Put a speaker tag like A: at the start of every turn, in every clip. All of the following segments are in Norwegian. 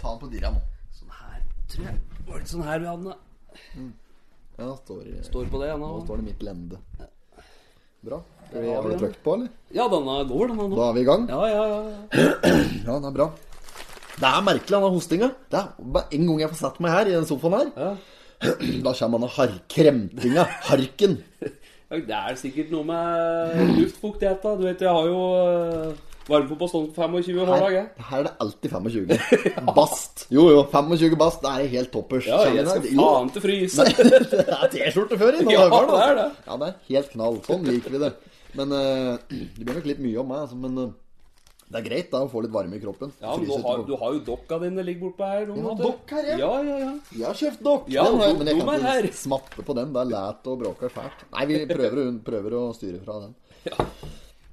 A: Ta den på dirra nå.
B: Sånn her, tror jeg. Var det ikke sånn her vi hadde den? da?
A: Ja, står,
B: Står på det ennå.
A: Nå står det mitt lende. Bra. Skal vi-
B: Ja,
A: Har du
B: ja.
A: trykt på, eller?
B: Ja, denne går, denne nå.
A: Da er vi i gang.
B: Ja, ja, ja. ja.
A: Ja, det er bra. Det er merkelig, denne hostinga. Det er bare en gang jeg får satt meg her, i den sofaen her,
B: ja.
A: da kommer denne har kremtinga. Harken.
B: Ja, Det er sikkert noe med luftfuktighet, da. Du vet, jeg har jo eh, varme på Boston 25 hver
A: Her,
B: dag, jeg.
A: her er det alltid 25. Bast. Jo, jo. 25 bast, det er helt toppers.
B: Ja, jeg skal faen til fryse.
A: det er T-skjorte før i noen
B: Ja,
A: dager, da.
B: det er det.
A: Ja, det er helt knall. Sånn liker vi det. Men eh, Det blir nok litt mye om meg, altså, men eh, det er greit da å få litt varme i kroppen.
B: Ja, men du
A: Fryse
B: har,
A: etterpå.
B: du har jo dokka dine ligger bortpå her. Du,
A: har
B: vet du.
A: dokk her, ja.
B: ja. Ja, ja,
A: Jeg har kjøpt nok.
B: Ja,
A: den har, jeg-
B: do-
A: men jeg
B: dum
A: kan
B: er her.
A: ikke smatte på den. Det er læt og bråker fælt. Nei, vi prøver, å- prøver å styre fra den.
B: Ja.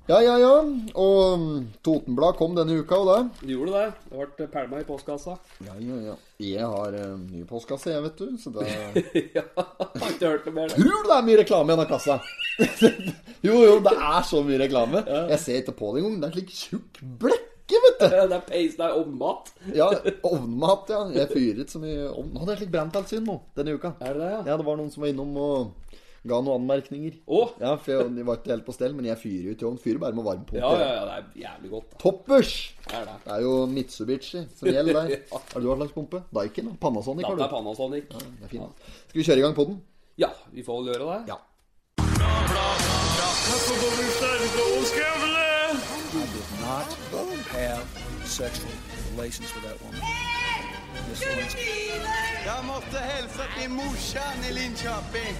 A: Ja, ja, ja. Og mm, Totenblad kom denne uka, og det.
B: Du gjorde det. Det ble pælma i postkassa.
A: Ja, ja, ja. Jeg har eh, ny postkasse, jeg, vet du. Så det
B: ja, har ikke hørt noe mer.
A: Tror du det er mye reklame i denne kassa? jo, jo, det er så mye reklame. Jeg ser ikke på det engang. Det er slik tjukk blekke, vet du.
B: Det er peis, det er ommat.
A: Ja, ovnmat, ja. Jeg fyrer ikke så mye ovn. Nå hadde jeg slik branntilsyn nå, denne uka.
B: Er det det, ja?
A: Ja, det var noen som var innom og ga noen anmerkninger.
B: Å!
A: Ja, for jeg, de var ikke helt på stell, men jeg fyrer jo til ovn. Fyrer bare med varmepumpe.
B: Ja, ja, ja, det er jævlig godt. da.
A: Toppers!
B: Det er det.
A: Det er jo Mitsubishi som gjelder der. Har du hva slags pumpe? Daikin? da? Panasonic? har
B: Dette er
A: du?
B: Panasonic.
A: Det er fint. Skal vi kjøre i gang på den?
B: sånn, Ja, vi får vel gjøre det.
A: Ja.
C: not have sexual relations with that woman. Miss Lewinsky.
D: Jeg måtte hilse til morsan i Linköping.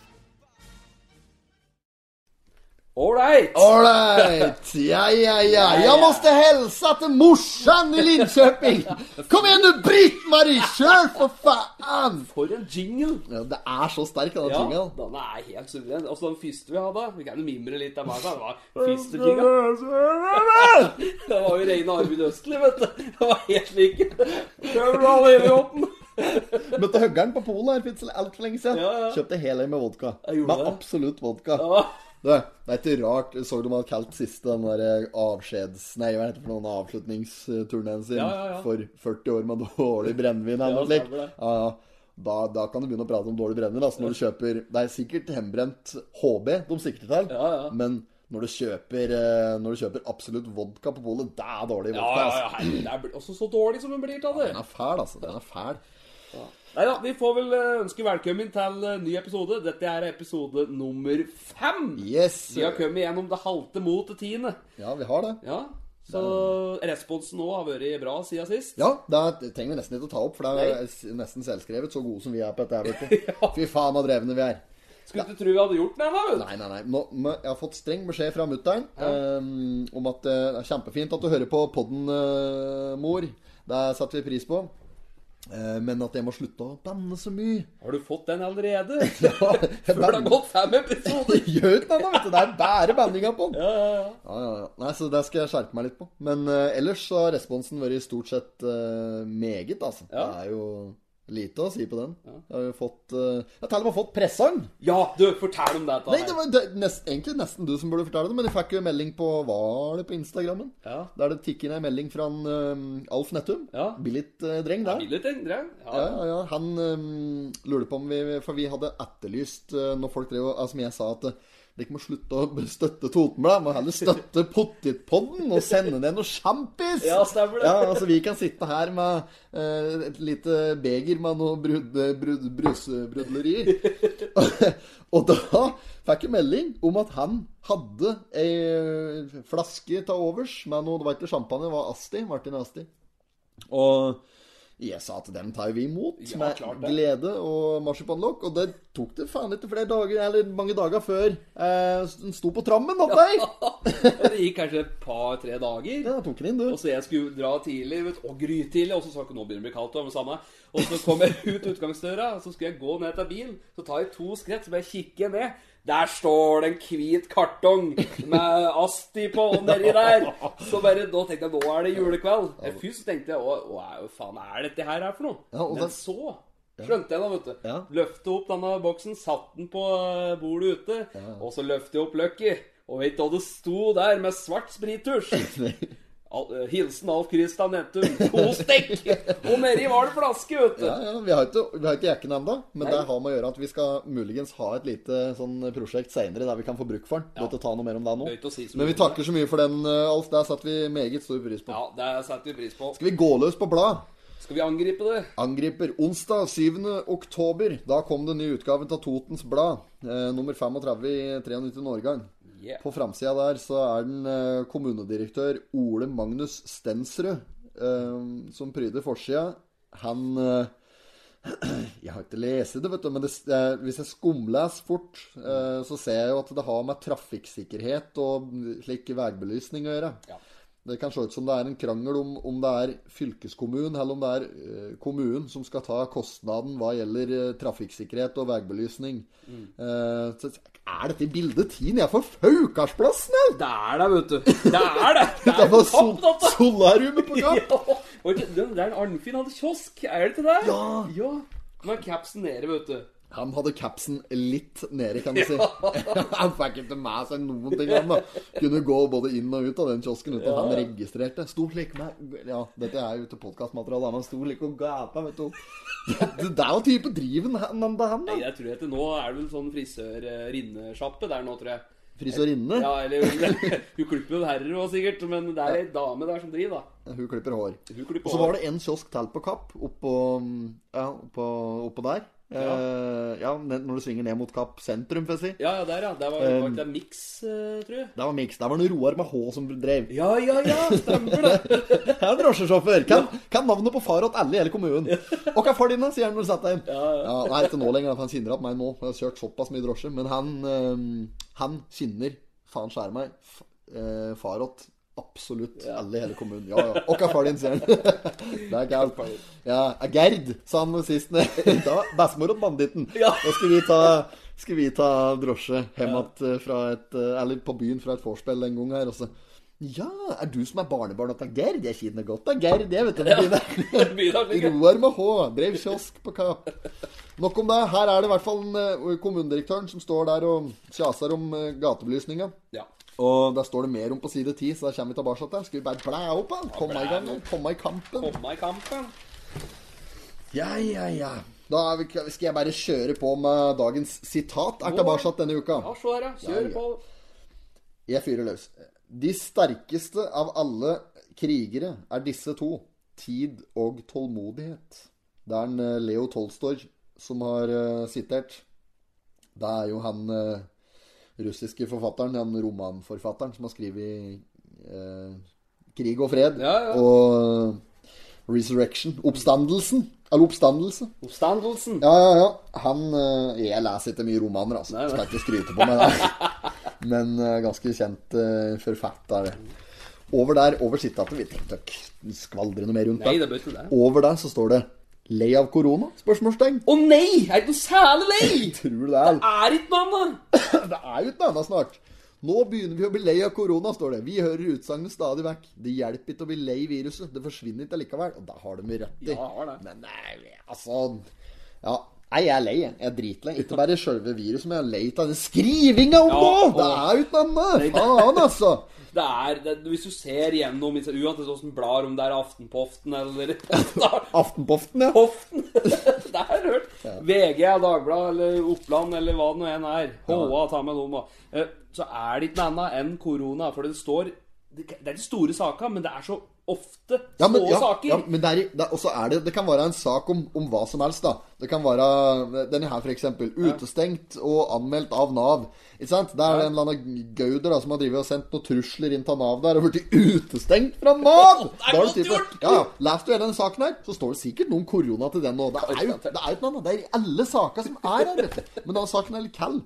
B: Ålreit!
A: Ålreit! Ja, ja, ja. Jeg måtte hilse til morsan i Linköping! Kom igjen, du Britt-Marie! Kjør, for faen!
B: For en jingle!
A: Ja, det er så sterk, denne
B: Ja,
A: jingelen.
B: den er helt suveren. Altså, den første vi hadde Vi kan jo mimre litt av meg, da. Det var første jingle. Det var jo rene Arvid Østli, vet du. Det var helt lik. Prøver du all evigheten?
A: Møtte huggeren på polet her for ikke så altfor lenge siden.
B: Ja, ja.
A: Kjøpte hel øy med vodka.
B: Jeg gjorde
A: Med
B: det.
A: absolutt vodka.
B: Ja.
A: Du, det er ikke rart. Så du de hadde kalt siste den der avskjeds... Nei, hva heter det for noen avslutningsturneen sin?
B: Ja, ja, ja.
A: For 40 år med dårlig brennevin eller
B: Ja,
A: noe slikt.
B: stemmer det.
A: Ja, ja. Da, da kan du begynne å prate om dårlig brennevin. Altså når du kjøper Det er sikkert hembrent HB de sikter til,
B: Ja, ja.
A: men når du, kjøper, eh, når du kjøper absolutt vodka på polet, det er dårlig
B: Ja,
A: vodka.
B: ja, ja,
A: altså.
B: herregud, det er også så dårlig som hun blir av det.
A: Den er fæl, altså. Den er fæl.
B: Nei da, vi får vel eh, ønske velkommen til eh, ny episode. Dette er episode nummer fem.
A: Yes!
B: Vi har kommet gjennom det halte mot det tiende.
A: Ja, vi har det.
B: Ja, så responsen nå har vært bra siden sist.
A: Ja, det trenger vi nesten ikke å ta opp, for det er s- nesten selvskrevet, så gode som vi er på dette her, vet du. Fy faen så drevne vi er.
B: Skulle ikke tro vi hadde gjort det, da. vet du.
A: Nei, nei, nei. Nå, må- jeg har fått streng beskjed fra mutter'n ehm, om at eh, det er kjempefint at du hører på podden, eh, mor. Det setter vi pris på. Eh, men at jeg må slutte å banne så mye.
B: Har du fått den allerede?
A: Ja, jeg
B: Før det har
A: banner.
B: gått fem episoder!
A: Gjør ikke det, vet du. Det er bare banninga på den.
B: Ja, ja, ja.
A: Ja, ja, ja. Nei, så det skal jeg skjerpe meg litt på. Men eh, ellers så har responsen vært stort sett eh, meget, altså.
B: Ja.
A: Det er jo lite å si på den. Jeg har jo fått eh, Jeg har til og med fått presang!
B: Ja, du, fortell om dette.
A: Nei, det var det, er nest, egentlig nesten du som burde fortelle det, men jeg fikk jo en melding på Var det på Instagrammen?
B: Ja.
A: Der det tikket inn ei melding fra en, eh, Alf Nettum.
B: Ja.
A: Billigt eh, dreng der.
B: Vil du tenke det?
A: Ja,
B: Ja.
A: ja, ja. Han um, lurte på om vi For vi hadde etterlyst eh, når folk drev og altså, Som jeg sa at eh, dere må slutte å støtte Totenblad. Må heller støtte Pottitpodden og sende ned noe sjampis!
B: Ja, stemmer det.
A: Ja, altså, vi kan sitte her med eh, et lite beger med noe brud, brud, brusebrudleri. og da fikk jeg melding om at han hadde ei eh, flaske til overs med noe Det var ikke champagne, det var Asti. Martin Asti. Og jeg sa at den tar vi imot
B: Ja,
A: med
B: klart det.
A: glede og marsipanlokk. Og det tok det faen ikke flere dager, eller mange dager før eh, den sto på trammen opp der.
B: Det gikk kanskje et par-tre dager.
A: Ja, tok den inn,
B: Og
A: du.
B: så jeg skulle dra tidlig, vet, du, og grytidlig, og så sa jeg ikke nå begynner det å bli kaldt. Og, det samme. og så kom jeg ut utgangsdøra, og så skulle jeg gå ned til bilen. Så tar jeg to skritt, så bare kikker jeg ned. Der står det en hvit kartong med Asti på og nedi der. Så bare, da tenkte jeg nå er det julekveld. Eh, Først så tenkte jeg å, hva faen er dette her for noe?
A: Ja, og
B: Men
A: det-
B: så Skjønte jeg da, vet du.
A: Ja.
B: Løfte opp denne boksen, satt den på eh, bordet ute, og så løfte jeg opp Lucky. Og vet du hva det sto der med svart sprittusj? Al eh, Hilsen Alf Christian Nettum. To stikk! Og nedi var det flaske, vet du.
A: Ja, ja, vi har ikke, vi har ikke jekken ennå, men det har med å gjøre at vi skal muligens ha et lite sånn prosjekt seinere der vi kan få bruk for den. Ja. Godt å ta noe mer om det nå.
B: Gøy til å si så mye
A: Men vi
B: om
A: takker så mye for den, eh, Alf. Det setter vi meget stor pris på.
B: Ja, det setter vi pris på.
A: Skal vi gå løs på blad?
B: Skal vi angripe det?
A: Angriper. Onsdag 7. oktober. Da kom den nye utgaven av Totens Blad. Eh, nummer 35 i 93 årgang.
B: Yeah.
A: På framsida der så er den eh, kommunedirektør Ole Magnus Stensrud eh, som pryder forsida. Han eh, Jeg har ikke lest det, vet du, men det, eh, hvis jeg skumleser fort, eh, så ser jeg jo at det har med trafikksikkerhet og slik veibelysning å gjøre.
B: Ja.
A: Det kan se ut som det er en krangel om, om det er fylkeskommunen eller om det er eh, kommunen som skal ta kostnaden hva gjelder eh, trafikksikkerhet og veibelysning.
B: Mm.
A: Eh, så er dette bildet tiden jeg får Faukarsplassen, jeg!
B: Det er det, vet du. Det er det! Det
A: Det
B: er
A: var
B: på topp, dette.
A: sol solariumet på
B: Ja.
A: gang!
B: Og det det er en Arnfinn hadde kiosk, er det ikke det?
A: Ja.
B: ja. Med capsen nede, vet du.
A: Han hadde capsen litt nede, kan du si. Han fikk ikke med seg noen ting. Han da. kunne gå både inn og ut av den kiosken uten at han registrerte. Sto slik med Ja, dette er jo til podkastmateriale. Han sto slik og gapa, vet du. Det det er jo type driven han, han, han da.
B: Jeg tror at nå er det vel sånn frisør-rinnesjappe der nå, tror jeg.
A: Frisørinne.
B: Ja, eller Hun klipper jo herrer òg, sikkert, men det er ei dame der som driver, da.
A: Hun klipper hår.
B: Hun
A: Og
B: klipper
A: så var det en kiosk til på Kapp, oppå, ja, oppå, oppå der. Ja. ja, når du svinger ned mot Kapp sentrum, får jeg si.
B: Ja, ja, der, ja. Der var
A: Um,
B: var det er Mix, eh, tror jeg.
A: Der var Mix. Der var det Roar med H som drev.
B: Ja, ja, ja, stemmer det.
A: Jeg er en drosjesjåfør. Kan, kan navnet på far åt alle i hele kommunen. Og hva er far din, da? sier han når du setter deg inn. Ja, nei, ikke nå lenger. at Han kjenner at meg nå. Jeg har kjørt såpass mye drosje. Men han, eh, han kjenner, faen skjære meg, f- eh, far åt absolutt alle i hele kommunen. Ja, ja. Og hva er far din, sier han. Det er galt. Ja, Gerd, sa han sist. Da var bestemor åt banditten.
B: Ja.
A: Da skal vi ta skal vi ta drosje hjem att, eh, fra et eh, Eller på byen fra et vorspiel en gang her. Og så Ja, er du som er barnebarn til Gerd? Jeg kjenner godt av Gerd, jeg, vet du. Ja.
B: Begynner å ligge.
A: Roar med H. Drev kiosk på Kapp. Nok om det. Her er det i hvert fall en, eh, kommunedirektøren som står der og kjaser om eh, gatebelysninga.
B: Ja.
A: Og der står det mer om på side 10, så der kommer vi tilbake til. Skal vi bare blæ opp, da? Komme i gang, da. komme i kampen.
B: Komme i kampen.
A: Ja, ja, ja. Da er vi, skal jeg bare kjøre på med dagens sitat. Er tilbake denne uka.
B: Ja, se her, ja.
A: Ja,
B: Kjør
A: ja.
B: på.
A: Jeg fyrer løs. De sterkeste av alle krigere er disse to. Tid og tålmodighet. Det er en eh, Leo Tolstoj som har eh, sitert. Det er jo han eh, russiske forfatteren, han romanforfatteren, som har skrevet eh, 'Krig og fred'
B: Ja, ja.
A: og eh, 'Resurrection'. Oppstandelsen. Eller oppstandelse.
B: Oppstandelsen.
A: Ja, ja, ja. Han eh, Jeg leser ikke mye romaner, altså.
B: Nei, nei.
A: Skal ikke skryte på meg det. Men eh, ganske kjent eh, forfatter. Over der, over sitatet Vi trengte ikke å skvaldre noe mer rundt
B: Nei,
A: det.
B: det bør ikke det.
A: Over der så står det 'Lei av korona?' spørsmålstegn.
B: Å nei! Er det ikke noe særlig lei?
A: Tror du det er
B: Er ikke noe annet.
A: Det er jo ikke noe annet snart. Nå begynner vi å bli lei av korona, står det. Vi hører utsagnet stadig vekk. Det hjelper ikke å bli lei viruset. Det forsvinner ikke likevel. Og da har de jo rett i.
B: Ja, har det.
A: Men nei, altså Ja. Nei, jeg er lei. jeg. Jeg er dritlei. Ikke bare selve viruset, men jeg er lei av den skrivinga om
B: Ja,
A: nå!
B: og-
A: Det er jo ikke noe annet! Faen, altså!
B: Det er, det, hvis du ser gjennom Uansett åssen blar, om det er Aftenpoften eller
A: Aftenpoften,
B: Aftenpoften
A: ja.
B: Det har jeg hørt. VG, Dagbladet eller Oppland eller hva det nå enn er. HA, ta med noen, da. Eh, Så er det ikke noe annet enn korona. For det står Det er de store sakene, men det er så ofte små
A: Ja, men, ja,
B: saker.
A: ja, men det er, det, er- og så er det, det kan være en sak om, om hva som helst, da. Det kan være denne her, for eksempel. Utestengt og anmeldt av Nav. Ikke sant? Det er en eller annen gauder da, som har drivet og sendt noen trusler inn til Nav der og blitt utestengt fra Nav!
B: Det er
A: Da har du
B: godt
A: sittet-
B: gjort!
A: Ja, ja. Leser du hele denne saken her, så står det sikkert noen korona til den òg. Det er jo det er jo ikke noe annet. Det er i alle saker som er her, vet du. Men denne saken er litt kald.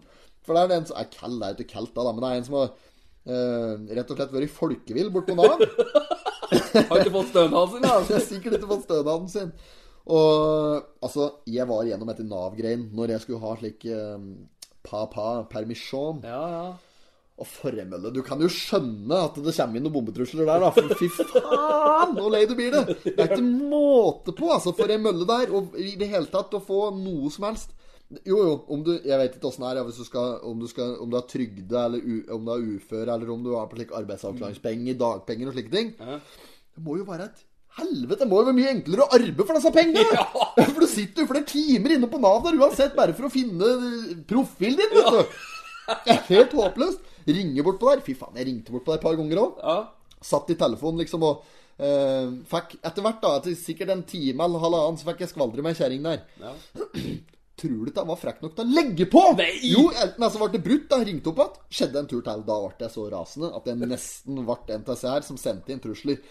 A: For det er en som er kald, det er jo ikke kaldt da, da, men det er en som har eh, rett og slett vært folkevill bort på Nav.
B: Har ikke fått stønaden sin, altså. da.
A: Jeg har sikkert ikke fått stønaden sin. Og altså, jeg var gjennom dette Nav-greien når jeg skulle ha slik eh, ehm, pa-pa-permisjon.
B: Ja, ja.
A: Og forremølle. Du kan jo skjønne at det kommer inn noen bombetrusler der, da. For fy faen, så lei du blir det! Det er ikke måte på, altså, for ei mølle der. Og i det hele tatt å få noe som helst. Jo, jo, om du Jeg vet ikke åssen det er ja, hvis du skal, om, du skal, om du er trygde, eller u, om du er ufør, eller om du har på slik arbeidsavklaringspenger, dagpenger og slike ting. Det må jo være et helvete! Det må jo være mye enklere å arbeide for disse pengene! For du sitter jo flere timer inne på Nav der uansett, bare for å finne eh, profilen din, vet du! Det er helt håpløst. Ringe bort på der. Fy faen, jeg ringte bort på der et par ganger òg.
B: Ja.
A: Satt i telefonen liksom og eh, fikk Etter hvert, da, etter sikkert en time eller halvannen, så fikk jeg skvaldre med ei kjerring der.
B: Ja.
A: Tror du ikke han var frekk nok til å legge på?
B: Nei!
A: Jo, enten altså ble det brutt, da ringte opp igjen. Skjedde en tur til. Da ble jeg så rasende at jeg nesten ble NTCR som sendte inn trusler.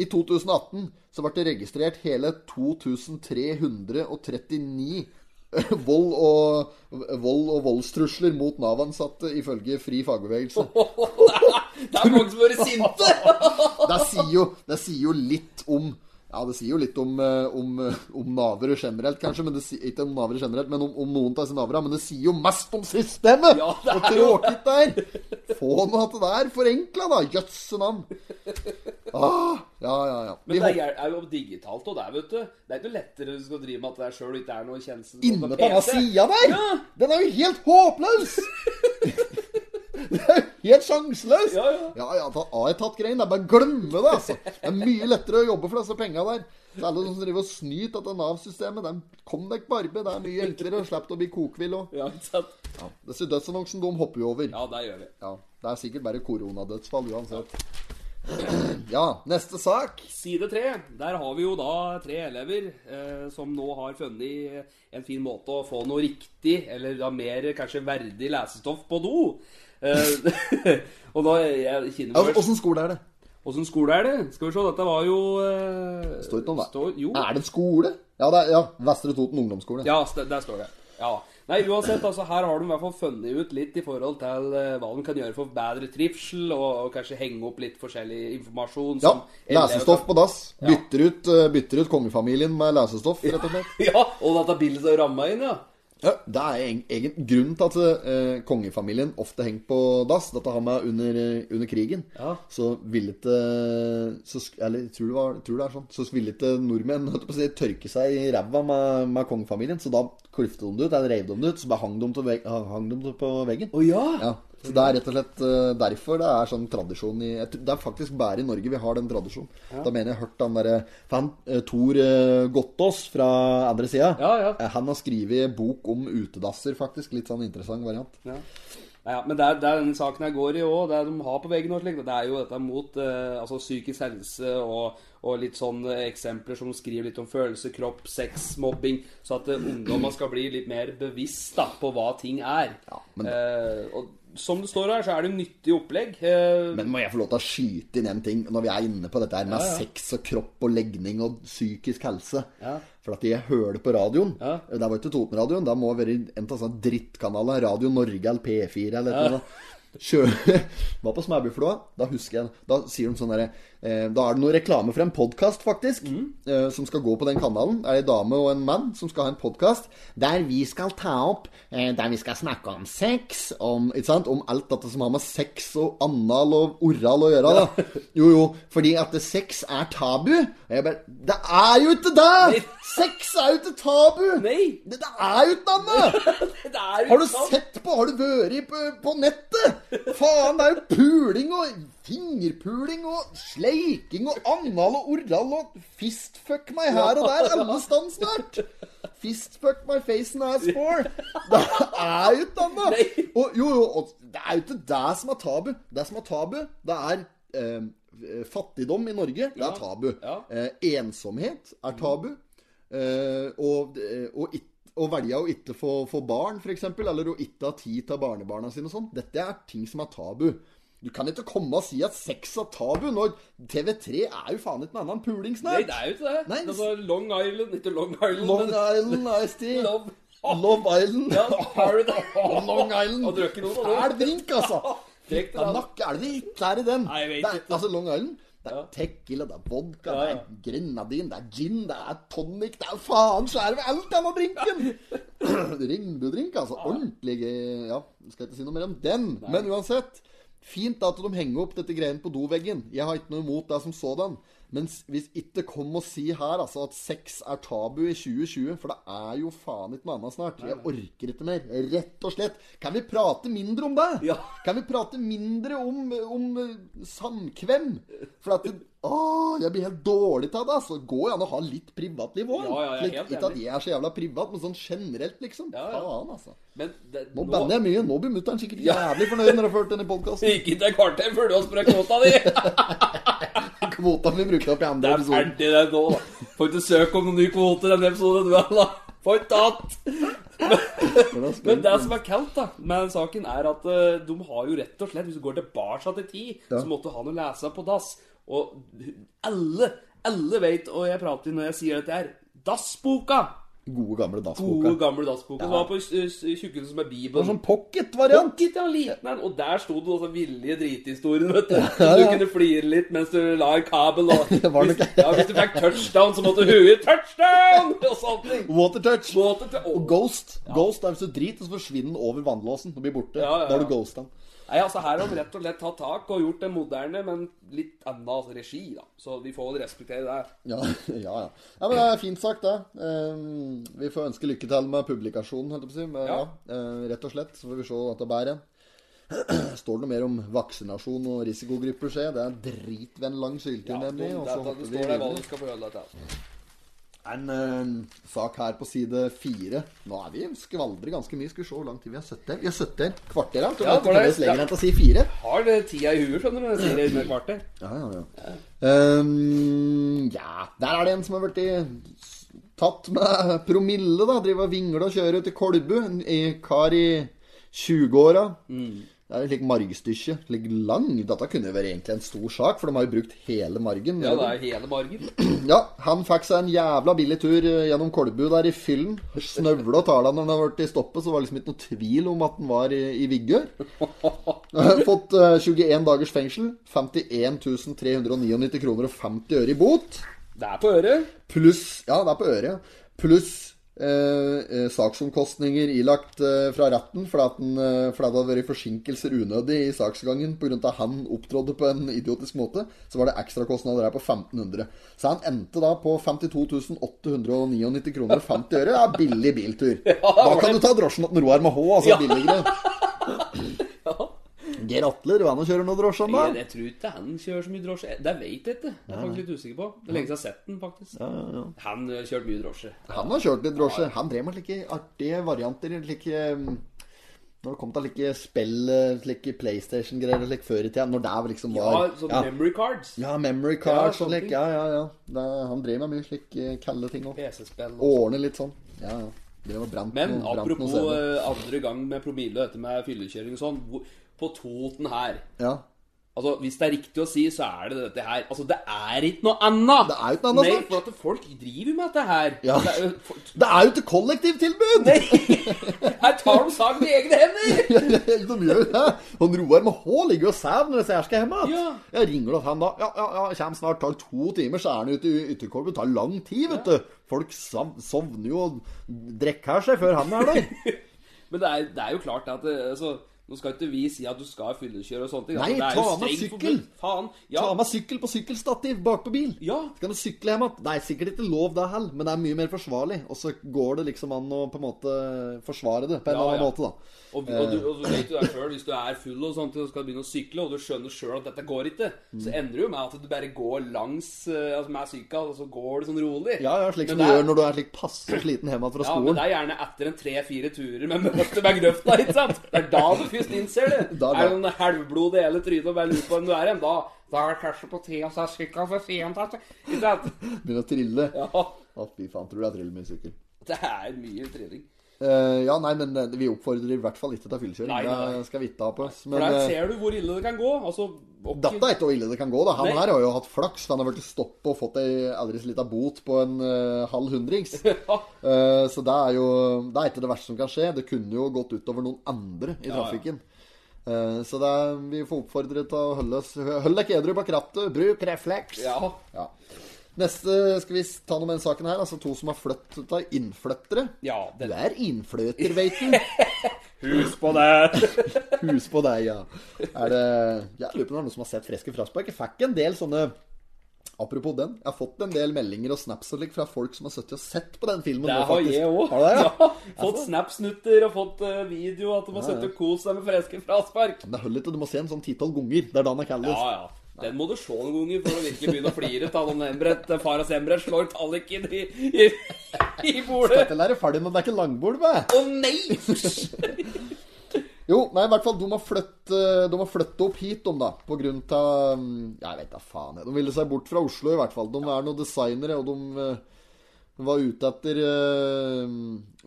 A: I 2018 så ble det registrert hele 2339 eh, vold og, vold og voldstrusler mot Nav-ansatte, ifølge Fri fagbevegelse.
B: Det er mange som har vært sinte!
A: Det sier, jo, det sier jo litt om ja, det sier jo litt om, eh, om, eh, om navere generelt, kanskje. Men det sier, ikke om navere generelt, men om, om noen av disse navere. Men det sier jo mest om systemet!
B: Ja, det er
A: og tråkig det er! Få nå at det er forenkla, da! Jøsse navn! Ah, ja, ja, ja. Vi
B: Men det
A: hopper
B: er, er jo digitalt og der, vet du. Det er ikke noe lettere du skal drive med at det er sjøl ikke er noe kjensel.
A: inne på denne sida der!
B: Ja.
A: Den er jo helt håpløs! Det er jo helt sjanseløst!
B: Ja, ja.
A: Ja, ja, da har jeg tatt greien. Det er bare å glemme det, altså. Det er mye lettere å jobbe for disse penga der. Så alle som driver og snyter av Nav-systemet, de kom deg på arbeid. Det er mye enklere og slipper å bli kokvill òg.
B: Ja, ikke sant?
A: Disse dødsannonsene, de hopper jo over.
B: Ja, det gjør vi.
A: Ja. Det er sikkert bare koronadødsfall uansett. Ja, neste sak.
B: Side tre. Der har vi jo da tre elever eh, som nå har funnet eh, en fin måte å få noe riktig, eller da mer kanskje verdig lesestoff på do. Eh, og da jeg kjenner
A: Ja,
B: meg
A: Åssen skole er det?
B: Åssen skole er det? Skal vi se, dette var jo eh,
A: Står ikke noe om
B: står-
A: det.
B: Jo.
A: Er det en skole? Ja, det er, ja. Vestre Toten ungdomsskole.
B: Ja, st- der står det. Ja. Nei, uansett, altså her har de i hvert fall funnet ut litt i forhold til eh, hva de kan gjøre for bedre trivsel, og, og kanskje henge opp litt forskjellig informasjon.
A: Ja,
B: som elever
A: Lesestoff
B: kan-
A: på dass. Bytter ut, eh, bytter ut kongefamilien med lesestoff, rett og slett.
B: Ja, og dette bildet er ramma inn, ja.
A: Ja, det er egen, egen grunnen til at eh, kongefamilien ofte henger på dass. Dette har med under, eh, under krigen.
B: Ja.
A: Så ville ikke så sk- Eller jeg tror det, var, jeg tror det er sånn. Så ville ikke nordmenn holdt jeg på å si, tørke seg i ræva med, med kongefamilien. Så da klifte de det ut, eller reiv de det ut, så bare hang de til vegg- hang de det på veggen.
B: Å ja.
A: Ja, så Det er rett og slett eh, derfor det er sånn tradisjon i jeg tror- Det er faktisk bare i Norge vi har den tradisjonen. Da mener jeg hørt han derre For han eh, Tor eh, Gottaas fra andre sida
B: Ja, ja.
A: eh, Han har skrevet bok om utedasser, faktisk. Litt sånn interessant variant.
B: Ja. Nei, ja, men det er, det er denne saken jeg går i òg. Det de har på veggen, og slik, det er jo dette mot eh, altså psykisk helse og, og litt sånne eksempler som skriver litt om følelser, kropp, sex, mobbing. Så at eh, ungdommer skal bli litt mer bevisst da, på hva ting er.
A: Ja, men-
B: Eh, og som det står her, så er det nyttig opplegg. Eh,
A: Men må jeg få lov til å skyte inn en ting når vi er inne på dette her med
B: Ja, ja.
A: sex og kropp og legning og psykisk helse?
B: Ja.
A: For at jeg hører det på radioen.
B: Ja.
A: Det var ikke Totenradioen. Det må være en av sånne drittkanaler. Radio Norge eller P4 eller et eller annet. Kjø... Var på Smæbyflåa. Da husker jeg Da sier de sånn derre eh, Da er det noe reklame for en podkast, faktisk, eh, som skal gå på den kanalen. Det er ei dame og en mann som skal ha en podkast der vi skal ta opp eh, Der vi skal snakke om sex, om, ikke sant? om alt dette som har med sex og anal og oral å gjøre. da Jo, jo, fordi at sex er tabu. Og jeg bare Det er jo ikke det! Sex er jo ikke tabu!
B: Nei.
A: Det, det er jo ikke noe annet!
B: det er jo
A: Har du
B: sant.
A: sett på? Har du vært på, på nettet? Faen, det er jo puling og fingerpuling og sleiking og anal og oral og fistfuck meg her og der alle steder snart. Fistfuck my face and ass for. Det er jo ikke annet.
B: Nei.
A: Og jo, jo, og det er jo ikke det som er tabu. Det som er tabu, det er eh, fattigdom i Norge. Det er tabu.
B: Ja.
A: Eh, ensomhet er tabu. Eh, og, eh, og, it, å velge å ikke få, få barn, f.eks., eller å ikke ha tid til barnebarna sine og sånn, dette er ting som er tabu. Du kan ikke komme og si at sex er tabu, når TV3 er jo faen ikke noe annet enn puling
B: Nei,
A: snart.
B: det er jo ikke det.
A: Nei.
B: Altså, Long Island Ikke Long Island,
A: Long
B: men
A: Island Ice Tea.
B: Love.
A: Love Island.
B: Ja, Paradise.
A: Og Long Island.
B: Og drukket noen av
A: Fæl
B: dem.
A: drink, altså.
B: Trekk det,
A: Det er
B: da.
A: nok er det det ikke er i den.
B: Nei, jeg vet
A: det er,
B: ikke.
A: Altså Long Island. Det er
B: Ja.
A: tequila, det er vodka,
B: Ja, ja.
A: det er grenadin, det er gin, det er tonic Det er faen så er det alt denne drinken! Ringbudrink, altså. Ordentlig gøy. Ja, skal ikke si noe mer om den. Men uansett. Fint at de henger opp dette greiene på doveggen. Jeg har ikke noe imot det som sådan. Men s- hvis ikke kom og si her altså, at sex er tabu i 2020, for det er jo faen ikke noe annet snart. Jeg orker ikke mer. Rett og slett. Kan vi prate mindre om det?
B: Ja.
A: Kan vi prate mindre om, om eh, samkvem? For at det, Åh, jeg blir helt dårlig av det. Så det går jo an å ha litt privatliv òg.
B: Ja, ja, jeg er helt
A: ikke at
B: enig.
A: jeg er så jævla privat, men sånn generelt, liksom.
B: Ja, ja.
A: Faen, altså.
B: Men det,
A: Nå banner jeg mye. Nå blir mutter'n sikkert
B: Ja.
A: jævlig fornøyd når hun har hørt denne podkasten.
B: Ikke til kvarter før du har sprukket kvota di!
A: Kvota vi brukte opp i
B: Det
A: andre
B: er
A: episoden.
B: ferdig, det nå. da. Får ikke søke om noen ny kvote i denne episoden. du, da. Får ikke tatt! Men det som er kaldt da med den saken, er at eh, de har jo rett og slett Hvis du går tilbake til tid, så måtte du ha noe å lese på dass. Og alle, alle vet hva jeg prater når jeg sier dette her. Dassboka!
A: Gode, gamle
B: Gode,
A: dassboka.
B: gamle dassboka. Som var på eh, tjukkelsen som
A: Det
B: er
A: var
B: Bibelen.
A: sånn pocket-variant.
B: Pocket, ja, liten en. Og der sto det også villige drithistorier, vet du.
A: Ja,
B: Du
A: ja.
B: kunne flire litt mens du la en kabel og hvis,
A: var nok-
B: ja, hvis du fikk touchdown, så måtte huet touchdown! Og sånne ting.
A: Watertouch.
B: Måte til
A: Og Ghost. Ghost er hvis du driter, så forsvinner den over vannlåsen og blir borte.
B: Ja, ja, ja.
A: Da har du ghosta.
B: Nei, altså Her har de rett og slett tatt tak og gjort det moderne, men litt annen regi, da. Så vi får vel respektere det.
A: Ja, ja, ja. ja. Men det er fint sagt, det. Ehm, vi får ønske lykke til med publikasjonen, holdt jeg på å si. Men, ja.
B: Ja.
A: eh, rett og slett. Så får vi se at det bærer. Står det noe mer om vaksinasjon og risikogrupper, se. Det er drit ved en lang syltid, nemlig.
B: det,
A: Og så hopper
B: det
A: vi
B: står der hva
A: videre.
B: du skal få altså. gjøre dette.
A: En eh, sak her på side fire. Nå er vi skvaldrer ganske mye. Skal vi se hvor lang tid vi har sittet her. Vi har sittet her kvarter her.
B: Ja,
A: Ja,
B: var det-
A: lenger
B: ja.
A: enn til å si fire.
B: Har det tida i huet, skjønner du. når jeg Sier det i det kvarter.
A: Ja, ja, ja. Ehm, ja, der er det en som har blitt tatt med promille, da. Driver og vingler og kjører til Kolbu. En en kar i 20-åra.
B: Mm.
A: Det er jo slik margstykke. Slik lang. Dette kunne jo vært egentlig en stor sak, for de har jo brukt hele margen.
B: Ja, det er hele margen.
A: Ja, han fikk seg en jævla billig tur eh, gjennom Kolbu der i fyllen. Snøvla og tala når han har vært i stoppet, så var det liksom ikke noe tvil om at han var i, i vigør. Fått eh, 21 dagers fengsel, 51 399 kroner og 50 øre i bot.
B: Det er på øret.
A: Pluss Ja, det er på øret, ja. Pluss eh, eh, saksomkostninger ilagt eh, fra retten fordi, at den, eh, fordi det hadde vært forsinkelser unødig i saksgangen pga. at han opptrådde på en idiotisk måte, så var det ekstrakostnader her på 1500. Så han endte da på 52 899 kroner og 50 øre. Det er billig biltur. Da kan du ta drosjen til Roar med H, altså. Billigere. Geir Atle, du er nå kjører noe drosje om
B: Jeg,
A: dagen?
B: jeg tror ikke han kjører så mye drosje. Det vet jeg ikke. Jeg er faktisk litt usikker på. Det er lenge siden jeg har sett den, faktisk. Han eh, kjørte mye drosje.
A: Han har kjørt litt drosje. Han drev med slike artige varianter. Slike, um, når det kom til slike spill, uh, slike PlayStation-greier slik før i tida. Når det liksom
B: Ja,
A: var
B: sånn
A: ja,
B: memory cards.
A: ja, memory cards
B: Ja,
A: og
B: sånne
A: slik.
B: ting.
A: Ja, ja, ja. Det, han drev med mye slike kalde ting òg.
B: PC-spill. og-
A: Ordne litt sånn. Ja, ja. Drev og brant
B: Men
A: noe- brant noe
B: apropos
A: CD.
B: eh, andre gang med promille og dette med fyllekjøring og sånn. hvor- På Toten her
A: Ja.
B: Altså, Hvis det er riktig å si, så er det dette her. Altså, Det er ikke noe annet!
A: Det er jo ikke noe annet
B: Nei,
A: snart.
B: for at folk driver med dette her.
A: Ja.
B: Det er, jo- for-
A: Det er jo ikke kollektivtilbud!
B: her tar de saken i egne hender!
A: De gjør det. Han Roar med H ligger jo og sover når disse her skal hjem igjen.
B: Ja.
A: Jeg ringer til han da. Ja, ja, ja, kommer snart. Tar to timer, så er han ute i ytterkorpet. Det tar lang tid, vet du. Folk sov- sovner jo og drikker her seg før han er der.
B: Men det er, det er jo klart at eh, altså, Nå skal ikke vi si at du skal fyllekjøre og sånne ting.
A: Nei,
B: altså, det er
A: ta
B: jo
A: med
B: strengt
A: sykkel.
B: forbudt. Faen. Ja.
A: Ta med sykkel på sykkelstativ bakpå bil.
B: Ja.
A: Så kan du sykle hjem igjen. Det er sikkert ikke lov, det heller, men det er mye mer forsvarlig. Og så går det liksom an å på en måte forsvare det på en
B: Ja,
A: annen
B: ja.
A: måte, da.
B: Og, og, du, og du
A: Eh.
B: vet jo det sjøl, hvis du er full og sånt, og skal begynne å sykle, og du skjønner sjøl at dette går ikke, så
A: Mm.
B: ender det jo med at du bare går langs eh, altså med sykkel, og så går du sånn rolig.
A: Ja, ja, slik som
B: Men
A: du
B: det er-
A: gjør når du er slik passe sliten hjemme fra
B: Ja, men
A: skolen.
B: det er gjerne etter en tre-fire turer med møte med grøfta, ikke sant? Det er da du først innser det.
A: Da, da.
B: Er det noen halvblod i hele trynet og bare lurer på hvem du er igjen, da, da er det kanskje på tide å ta sykkelen for sent, altså. ikke sant?
A: Begynner å trille.
B: Ja,
A: Å, fy faen, tror du jeg triller med sykkel.
B: det er mye trilling.
A: Eh, ja, nei, men eh, vi oppfordrer i hvert fall ikke til fyllekjøring.
B: Nei, nei, nei.
A: Det skal vi ikke ha på oss.
B: For
A: Men
B: der
A: eh,
B: ser du hvor ille det kan gå. Altså, ok,
A: dette er ikke hvor ille det kan gå. da Han
B: Nei.
A: her har jo hatt flaks. for Han har blitt stoppet og fått ei aldri så lita bot på en eh, halv hundrings. Eh, så det er jo Det er ikke det verste som kan skje. Det kunne jo gått utover noen andre i
B: ja.
A: trafikken. Eh, så det er, vi får oppfordre til å holde oss Hold deg edru bak rattet. Bruk refleks.
B: Ja.
A: Ja. Neste skal vi ta noe med den saken her. Altså to som har flyttet av innflyttere.
B: Ja,
A: Du
B: den
A: er innfløter, veit du.
B: Hus på det!
A: Hus på deg, ja. Er det Jeg lurer på om det er noen som har sett Freske Fraspark. Jeg fikk en del sånne Apropos den. Jeg har fått en del meldinger og snaps og slik fra folk som har sittet og sett på den filmen.
B: Det
A: nå,
B: har
A: faktisk.
B: jeg òg.
A: Har du det, ja?
B: Fått snapsnutter og fått eh, video at de har sittet og kost seg med freske fraspark.
A: Men det holder ikke. Du må se en sånn titall ganger. Det er da den er
B: Ja,
A: kaldest.
B: ja. Den må du se noen ganger for å virkelig begynne å flire av om Embret, Faras Embret slår talliken i, i, i bordet.
A: Dette er ferdig, men det er ikke langbord, med.
B: Å nei!
A: Jo, nei, i hvert fall, de har flyttet eh, de har flyttet opp hit, de, da. På grunn av mm, Jeg vet da faen. jeg. De ville seg bort fra Oslo, i hvert fall. De er noen designere, og de eh, var ute etter eh,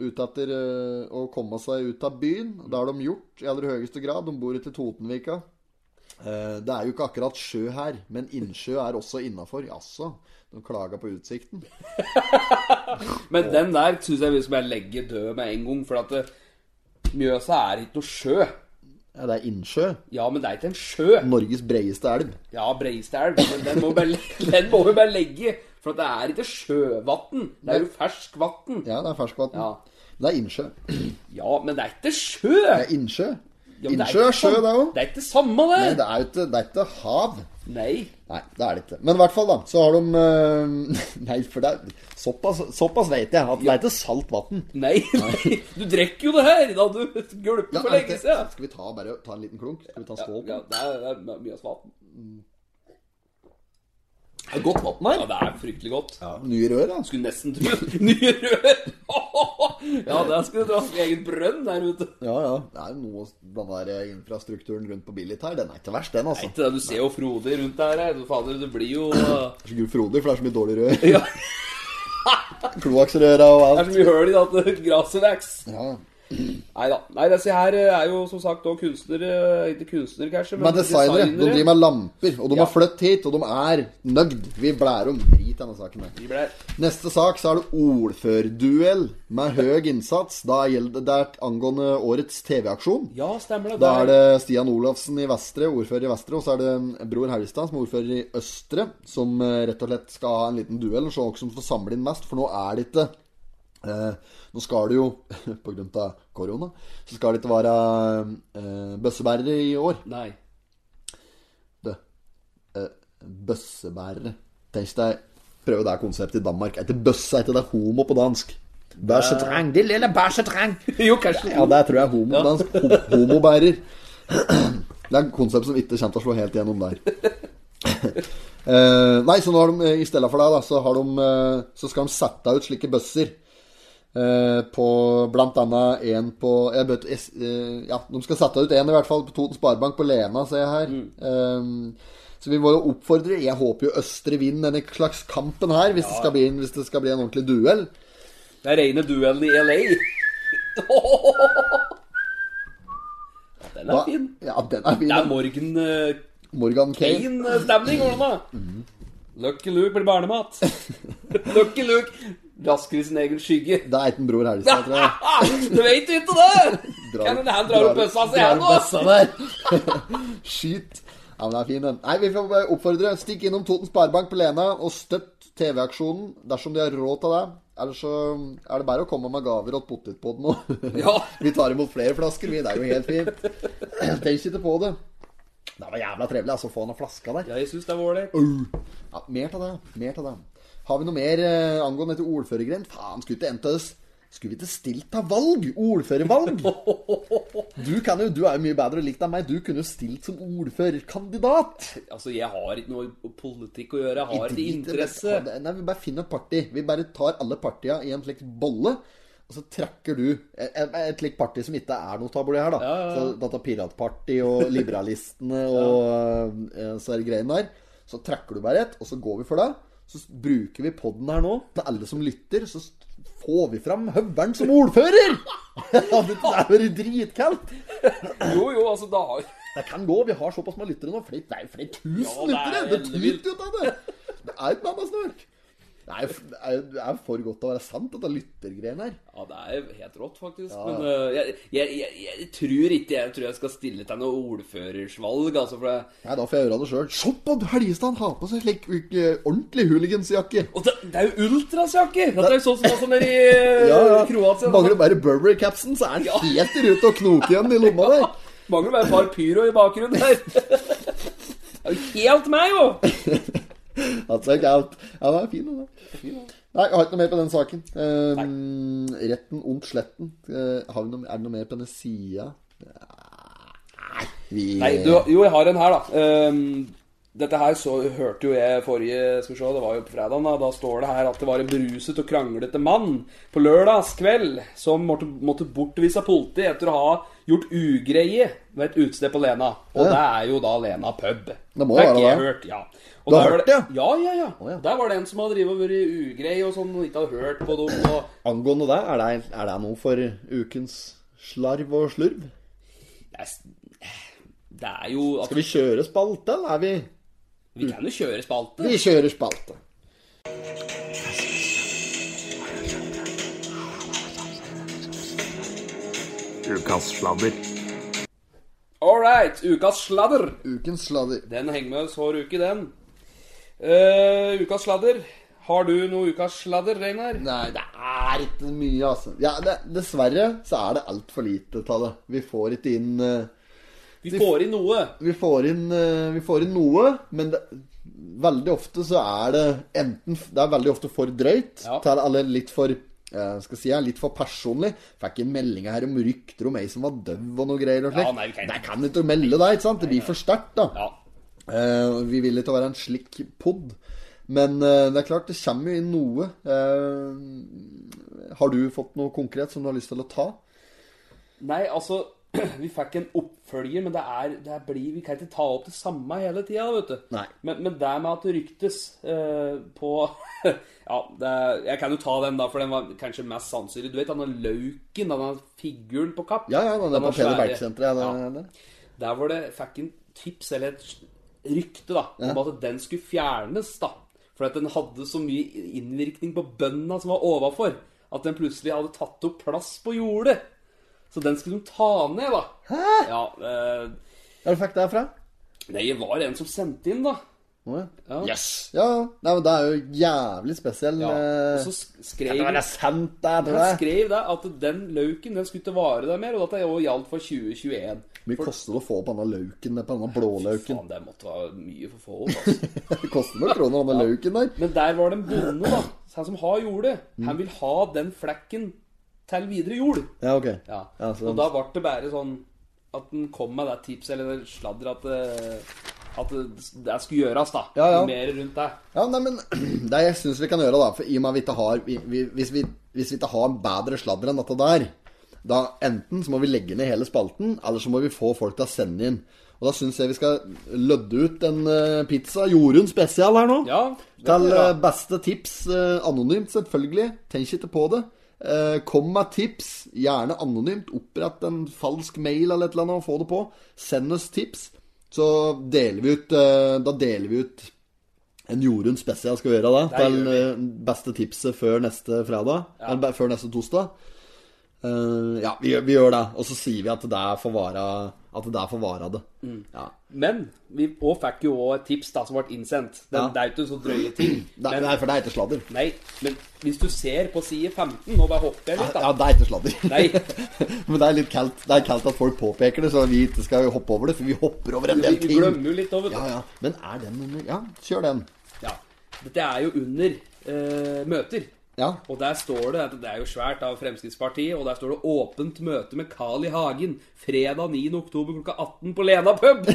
A: Ute etter eh, å komme seg ut av byen. Det har de gjort i aller høyeste grad. De bor ute i Totenvika. Eh, Det er jo ikke akkurat sjø her, men innsjø er også innafor. Jaså, de klaga på utsikten.
B: Men den der syns jeg vi skal bare legge død med en gang, for at eh, Mjøsa er ikke noe sjø.
A: Ja, det er innsjø.
B: Ja, men det er ikke en sjø.
A: Norges breieste elv.
B: Ja, Breistad elv, men den må, vi bare, den må vi bare legge. For at det er ikke sjøvann. Det er jo ferskvann.
A: Ja, det er ferskvann.
B: Ja.
A: Det er innsjø.
B: ja, men det er ikke sjø!
A: Det er innsjø.
B: Ja, men det
A: innsjø
B: ikke
A: er sjø,
B: sam-
A: det òg.
B: Det er ikke samme, det.
A: Nei, det er jo ikke, det er ikke hav.
B: Nei.
A: Nei, det er det ikke. Men i hvert fall, da, så har de eh, Nei, for det er Såpass, såpass vet jeg at det er ikke salt vann.
B: Nei, nei. Du drikker jo det her! Da du gulper for lenge siden.
A: Skal vi ta, bare, ta en liten klunk? Skal vi ta en skål?
B: Ja, det er, det er mye av vann.
A: Det er godt vann
B: Ja,
A: her.
B: det er fryktelig godt.
A: Nye rør, da.
B: Skulle nesten tro Nye rør! Ja, der skulle du dra sin egen brønn der ute.
A: Ja, ja. Det er jo noe Den der infrastrukturen rundt på Billit her, den er ikke verst, den, altså.
B: Ikke det, Du ser jo Frode rundt der. her. Du, Fader, du blir jo Det
A: Det er så gud frodig, for det er så mye dårlig rør.
B: Ja.
A: Kloakksrøra og
B: er
A: alt.
B: så mye høl i det at det- gresset vokser.
A: Ja.
B: Nei da. Nei, disse her eh, er jo som sagt òg kunstnere Ikke kunstnere, kanskje,
A: Men designere, de driver med lamper, og de
B: Ja.
A: har flyttet hit, og de er nøgd. Vi blærer om drit i denne saken. her.
B: De ble-
A: Neste sak så er det ordførduell med høy innsats. Da gjelder det er angående årets TV-aksjon.
B: Ja, stemmer det.
A: Da er det Stian Olafsen i Vestre, ordfører i Vestre, og så er det Bror Helgestad, som er ordfører i Østre, som eh, rett og slett skal ha en liten duell og se hvem som får samle inn mest, for nå er det ikke eh, Nå skal det jo, på grunn av korona, så skal det ikke være eh, bøssebærere i år.
B: Nei.
A: Du, eh, bøssebærere Tenk deg prøve det her konseptet i Danmark. Er ikke bøsse, er ikke det homo på dansk? Bæsjetrang, de lille bæsjetrang.
B: Jo, kanskje.
A: Ja, det tror jeg er homo på dansk. Ho- Homobærer. Det er et konsept som ikke kommer til å slå helt gjennom der. Eh, nei, så nå har de, eh, i stedet for deg, da, så, har de, eh, så skal de sette ut slike bøsser. Eh, på blant annet en på jeg vet, jeg, s- eh, Ja, de skal sette ut en i hvert fall på Toten Sparebank på Lena, ser jeg her.
B: Mm.
A: Eh, så vi må jo oppfordre Jeg håper jo Østre vinner denne slags kampen her, hvis, det, skal bli, en- hvis det skal bli en ordentlig duell.
B: Det er rene duellen i LA. Ja, Den er
A: Da-
B: fin.
A: Ja, den er fin.
B: Det er
A: da.
B: Morgan eh,
A: Morgan Kane.
B: Kane-stemning, hvordan da?
A: Mhm.
B: Lucky Luke blir barnemat. Lucky Luke rasker i sin egen skygge.
A: Det er ikke en bror Helgestad, tror jeg.
B: Ah, du vet jo ikke det!
A: Drar-
B: Kan hende han drar opp bøssa si, han
A: drar opp
B: òg.
A: bøssa der. Skyt. Ja, men det er fin, den. Nei, vi får bare oppfordre. Stikk innom Toten Sparebank på Lena og støtt TV-aksjonen dersom de har råd til det. Ellers så er det bare å komme med gaver og potetpodden òg.
B: Ja.
A: Vi tar imot flere flasker, vi. Det er jo helt fint. Tenk ikke på det. Det var jævla trivelig, altså, å få noen flasker der.
B: Ja, jeg syns det er ålreit.
A: Ja, mer av det. Mer av det. Har vi noe mer eh, angående dette ordførergrendt? Faen, skulle ikke endt oss. Skulle vi ikke stilt til valg? Ordførervalg? Du, kan jo, du er jo mye bedre likt enn meg. Du kunne jo stilt som ordførerkandidat.
B: Altså, jeg har ikke noe politikk å gjøre. Jeg har ikke
A: Drit i det.
B: interesse.
A: Nei, Vi bare finner et parti. Vi bare tar alle partia i en slik bolle. Og så trekker du et, et slikt parti som ikke er noe tabloid her, da. Så dette Piratpartiet og Liberalistene og ja. så er det greiene der. Så trekker du bare et, og så går vi for det. Så s- bruker vi podden her nå til alle som lytter. Så s- får vi fram høveren som ordfører! det er jo dritkaldt!
B: Jo, jo, altså, da har
A: Det kan gå. Vi har såpass med lyttere nå. Flere, flere, flere tusen
B: Ja, det er
A: lyttere! Det
B: helt
A: tyter jo av det! Det er jo et banna snørk. Det er, jo- det er, jo- det er for godt til å være sant, dette lyttergreiene her.
B: Ja, det er helt rått, faktisk. Men øh, jeg, jeg, jeg, jeg tror ikke jeg tror jeg skal stille til noe ordførersvalg, altså. For det,
A: Nei, da får jeg gjøre det sjøl. Se på Helgestad, han har på seg slik eh, ordentlig hooligansjakke.
B: og det, det er jo ultrasjakker! Dette er jo sånn som altså nede i øh, Kroatia.
A: Mangler bare Burberry-capsen, så er han helt i rute og knoker igjen i lomma der.
B: Mangler bare et par pyro i bakgrunnen her. Det er jo helt meg, jo!
A: That's like out. Ja, det er fin, den. der. Nei, jeg har ikke noe mer på den saken. Eh, retten om sletten. Eh, har vi noe, er det noe mer på denne sida? Nei, vi
B: Nei, du, jo, jeg har en her, da. Ehm, dette her så hørte jo jeg forrige Skal vi se, det var jo på fredagen Da da står det her at det var en beruset og kranglete mann på lørdagskveld som måtte, måtte bortvise av politiet etter å ha gjort ugreie ved et utested på Lena. Og
A: Ja.
B: det er jo da Lena pub.
A: Det må jo være
B: har ikke jeg
A: det.
B: hørt, ja. Og
A: Du har
B: der var
A: hørt det,
B: Ja, ja, ja.
A: ja.
B: Der var det en som hadde drevet og vært ugrei og sånn, og ikke hadde hørt på dem. Og
A: Angående det, er det, er det noe for ukens slarv og slurv?
B: det er, det er jo at
A: Skal vi kjøre spalte, eller er vi
B: Vi kan jo kjøre spalte.
A: Vi kjører spalte.
E: Ukas sladder.
B: All right, ukas sladder.
A: Ukens sladder.
B: Den henger med oss hver uke, den. Eh, ukas sladder. Har du noe ukas sladder, Reinar?
A: Nei, det er ikke mye, altså. Ja, det, dessverre så er det altfor lite av det. Vi får ikke inn eh,
B: Vi får inn noe.
A: vi får inn, eh, vi får inn noe, men det, veldig ofte så er det enten Det er veldig ofte for drøyt,
B: Ja.
A: til eller litt for eh, skal si jeg, Litt for personlig. Fikk en melding her om rykter om ei som var døv og noe greier. Og
B: Ja,
A: slikt.
B: nei, vi kan ikke-
A: det kan ikke melde deg, ikke sant? Det blir for sterkt, da.
B: Ja.
A: Eh, vi vil ikke være en slik pod. Men eh, det er klart, det kommer jo inn noe. Eh, har du fått noe konkret som du har lyst til å ta?
B: Nei, altså Vi fikk en oppfølger, men det er, det er blir, vi kan ikke ta opp det samme hele tida, vet du.
A: Nei.
B: Men, men det med at det ryktes eh, på Ja, det, er- jeg kan jo ta den, da, for den var kanskje mest sannsynlig. Du vet denne Lauken, denne figuren på Kapp?
A: Ja, ja, den er på Peder
B: svære.
A: Berg-senteret.
B: Ja.
A: ja, den er der.
B: Der hvor det fikk en tips, eller et rykte, da, om at den skulle fjernes, da. For at den hadde så mye innvirkning på bøndene som var overfor, at den plutselig hadde tatt opp plass på jordet. Så den skulle de ta ned, da. Hæ? Ja, eh,
A: Ja, du fikk det herfra?
B: nei, det var en som sendte inn, da.
A: Å, ja.
B: Ja.
A: Ja, nei, men det er jo jævlig spesiell
B: Ja,
A: eh,
B: og så sk- skrev
A: Det er sant, det er
B: han
A: det.
B: skrev da at den lauken den skulle ikke vare der mer, og at det også gjaldt for 2021.
A: Hvor mye koster det å få opp denne lauken der, på denne blålauken?
B: Faen, det måtte være mye for få opp, altså.
A: Det koster noen kroner, denne lauken der.
B: Men der var det en bonde, da. Så Han som har jordet. Han vil ha den flekken til videre jord.
A: Ja, ok.
B: Ja.
A: Ja, så-
B: Og da ble det bare sånn at han kom med det tipset, eller det sladder, at det, at det, det skulle gjøres, da.
A: Ja, ja.
B: Noe Mer rundt det.
A: Ja, nei, men Det jeg syns vi kan gjøre, da For i og med at vi ikke har vi, vi, hvis, vi, hvis vi ikke har en bedre sladder enn dette der, da enten så må vi legge ned hele spalten, eller så må vi få folk til å sende inn. Og da syns jeg vi skal lødde ut en eh, pizza Jorunn spesial her nå.
B: Ja. det
A: Til
B: blir bra.
A: eh, beste tips, eh, anonymt selvfølgelig. Tenk ikke på det. Eh, Kom med tips, gjerne anonymt. Opprett en falsk mail eller et eller annet og få det på. Send oss tips, så deler vi ut eh, Da deler vi ut en Jorunn spesial skal vi gjøre det.
B: Der
A: Til
B: gjør
A: eh, beste tipset før neste fredag. Eller be- før neste torsdag. Eh, ja, vi, gjør- vi gjør det. Og så sier vi at det der får vare At det der får vare det.
B: Mm.
A: Ja.
B: Men vi også fikk jo også et tips da som ble innsendt. Den,
A: Ja.
B: Det er jo ikke en så drøye ting.
A: Nei,
B: Men,
A: nei, for det er ikke sladder.
B: nei, men hvis du ser på side 15 Nå bare hopper jeg litt, da.
A: Ja, det er ikke sladder.
B: Nei.
A: Men det er litt kaldt. Det er kaldt at folk påpeker det, så vi ikke skal hoppe over det. For vi hopper over en
B: Vi
A: del
B: vi
A: ting.
B: glemmer jo litt over det.
A: Ja, ja. Men er den under Ja, kjør den.
B: Ja. Dette er jo under eh, møter.
A: Ja.
B: Og der står det, det er jo svært av Fremskrittspartiet, og der står det 'Åpent møte med Carl I. Hagen fredag 9. oktober klokka 18 på Lena pub'.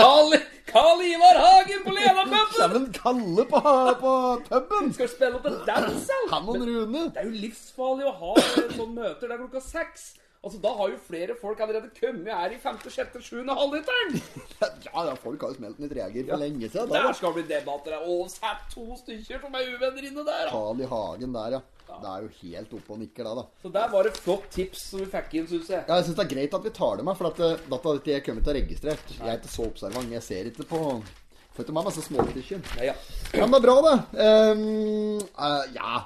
B: Carl, Carl Ivar Hagen på Lena pub!
A: Dæven kalle på, på puben!
B: Skal du spille opp en dancehall?
A: Kanon Rune.
B: Det er jo livsfarlig å ha sånne møter der klokka seks. Altså, Da har jo flere folk allerede kommet her i femte, sjette, sjuende halvliteren.
A: Ja, ja, folk har jo smelt litt reager for lenge siden.
B: Der
A: Da,
B: skal det bli debatter. Det er oversatt to stykker som er uvenner inne der.
A: da. Carl i Hagen der, ja. Det er jo helt oppe og nikker, det, da.
B: Så der var det flott tips som vi fikk inn, syns jeg.
A: Ja, jeg syns det er greit at vi tar det med, for at eh, dette har ikke jeg kommet til å registrere. Jeg er ikke så observant. Jeg ser ikke på Får ikke med meg så småkrykjen.
B: Ja, ja.
A: Ja, men det er bra, da. Ehm, eh, ja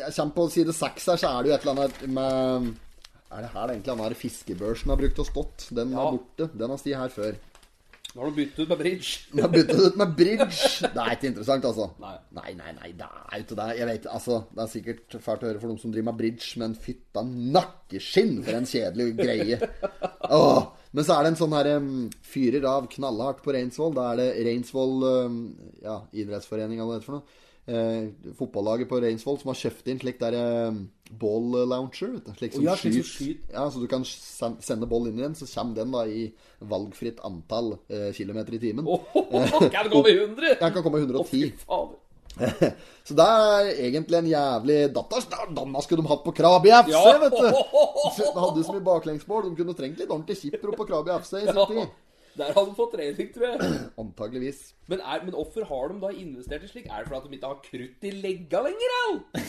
A: Jeg kommer på side seks her, så er det jo et eller annet med Er det her det egentlig han her fiskebørsen har brukt og stått? Den
B: Ja.
A: er borte. Den har stått her før.
B: Nå har du byttet ut med bridge.
A: Den har byttet ut med bridge. Det er ikke interessant, altså.
B: Nei.
A: nei, nei, nei, det er jo ikke det. Jeg vet, altså, det er sikkert fælt å høre for dem som driver med bridge, men fytta nakkeskinn for en kjedelig greie. Åh. Men så er det en sånn her em, fyrer av knallhardt på Reinsvoll. Da er det Reinsvoll em, ja, idrettsforening eller hva det heter for noe. Eh, fotballaget på Reinsvoll som har kjøpt inn slik der em, ball launcher. Vet du, slik som
B: ja, slik som
A: skyter. Ja, så du kan sen- sende ball inn i den, så kommer den da i valgfritt antall eh, kilometer i timen.
B: Åhåhå, kan det gå med 100?
A: Jeg kan komme i
B: Å, fy
A: 110.
B: fader.
A: Så det er egentlig en jævlig datter. Danna skulle de hatt på Krabi FC,
B: Ja.
A: vet du! Så De hadde så mye baklengsmål. De kunne trengt litt ordentlig kipro på Krabi FC i sin tid.
B: Der har du fått trening, tror jeg.
A: Antageligvis.
B: Men, er, men hvorfor har de da investert i slik? Er det fordi at de ikke har krutt i legga lenger, au?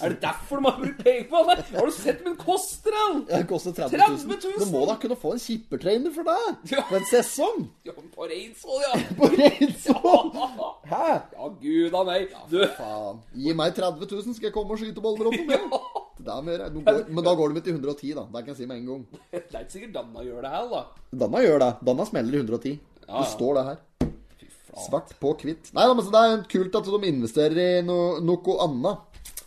B: Er det derfor de har brukt penger på det? Har du sett min koster, au?
A: Det koster 30
B: 30
A: 000.
B: 000.
A: Du må da kunne få en kippertrener for det!
B: Ja.
A: På en sesong!
B: Ja, men på Reinsvoll, ja.
A: På Reinsvoll! Hæ?
B: Ja, gud a meg. Du,
A: Faen. Gi meg 30 000, skal jeg komme og skyte boller opp om igjen. Det er mer- nå går- Men da går de til 110, da. Det kan jeg si med en gang.
B: det er ikke sikkert Danna gjør det her, da.
A: Danna gjør det. Danna smeller i 110.
B: Ja, ja.
A: Det står det her.
B: Fy flate.
A: Svart på hvitt. Nei da, men så det er kult at de investerer i no, noe annet.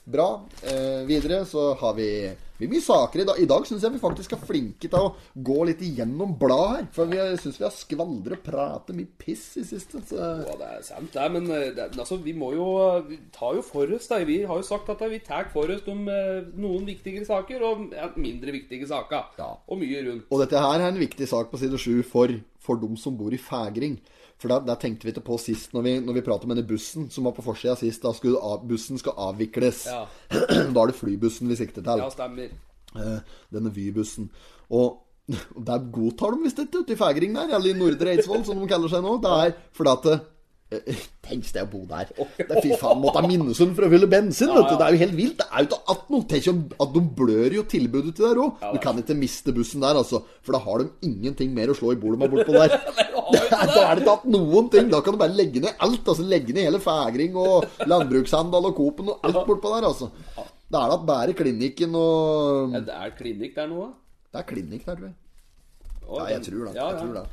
A: Bra. Eh, videre så har vi vi har mye saker i dag. I dag syns jeg vi faktisk er flinke til å gå litt igjennom blad her. For vi syns vi har skvaldret og pratet mye piss i siste. Så
B: Ja, det er sant, det. Men eh, det, altså, vi må jo Vi tar jo for oss, da. Vi har jo sagt at vi tar for oss de, eh, noen viktigere saker og ja, mindre viktige saker.
A: Ja.
B: Og mye rundt.
A: Og dette her er en viktig sak på side 7 for, for dem som bor i Fægring. For der, der tenkte vi ikke på sist, når vi, når vi pratet om denne bussen som var på forsida sist. Da skulle av, bussen skal avvikles.
B: Ja.
A: Da er det flybussen vi sikter til.
B: Ja, stemmer.
A: eh, denne Vy-bussen. Og, og der godtar de visst dette ute i Fægring der, eller i Nordre Eidsvoll, som de kaller seg nå. Det er fordi at eh, eh, Tenk deg å bo der. Det er Fy faen, måtte ha Minnesund for å fylle bensin, vet du. Det er jo helt vilt. Det er jo ikke at noe. Tenk om at de blør jo tilbudet til der òg. Du kan ikke miste bussen der, altså. For da har de ingenting mer å slå i bordet med bortpå der. da er det ikke hatt noen ting. Da kan du bare legge ned alt. Altså legge ned hele Fægring og landbrukshandel og Coop-en og alt bortpå der, altså. Da er det at bare klinikken og
B: Ja, det er klinikk der nå, da?
A: det er klinikk der, tror jeg.
B: Å,
A: Ja, jeg
B: den-
A: tror det.
B: Ja,
A: Jeg tror
B: ja.
A: det.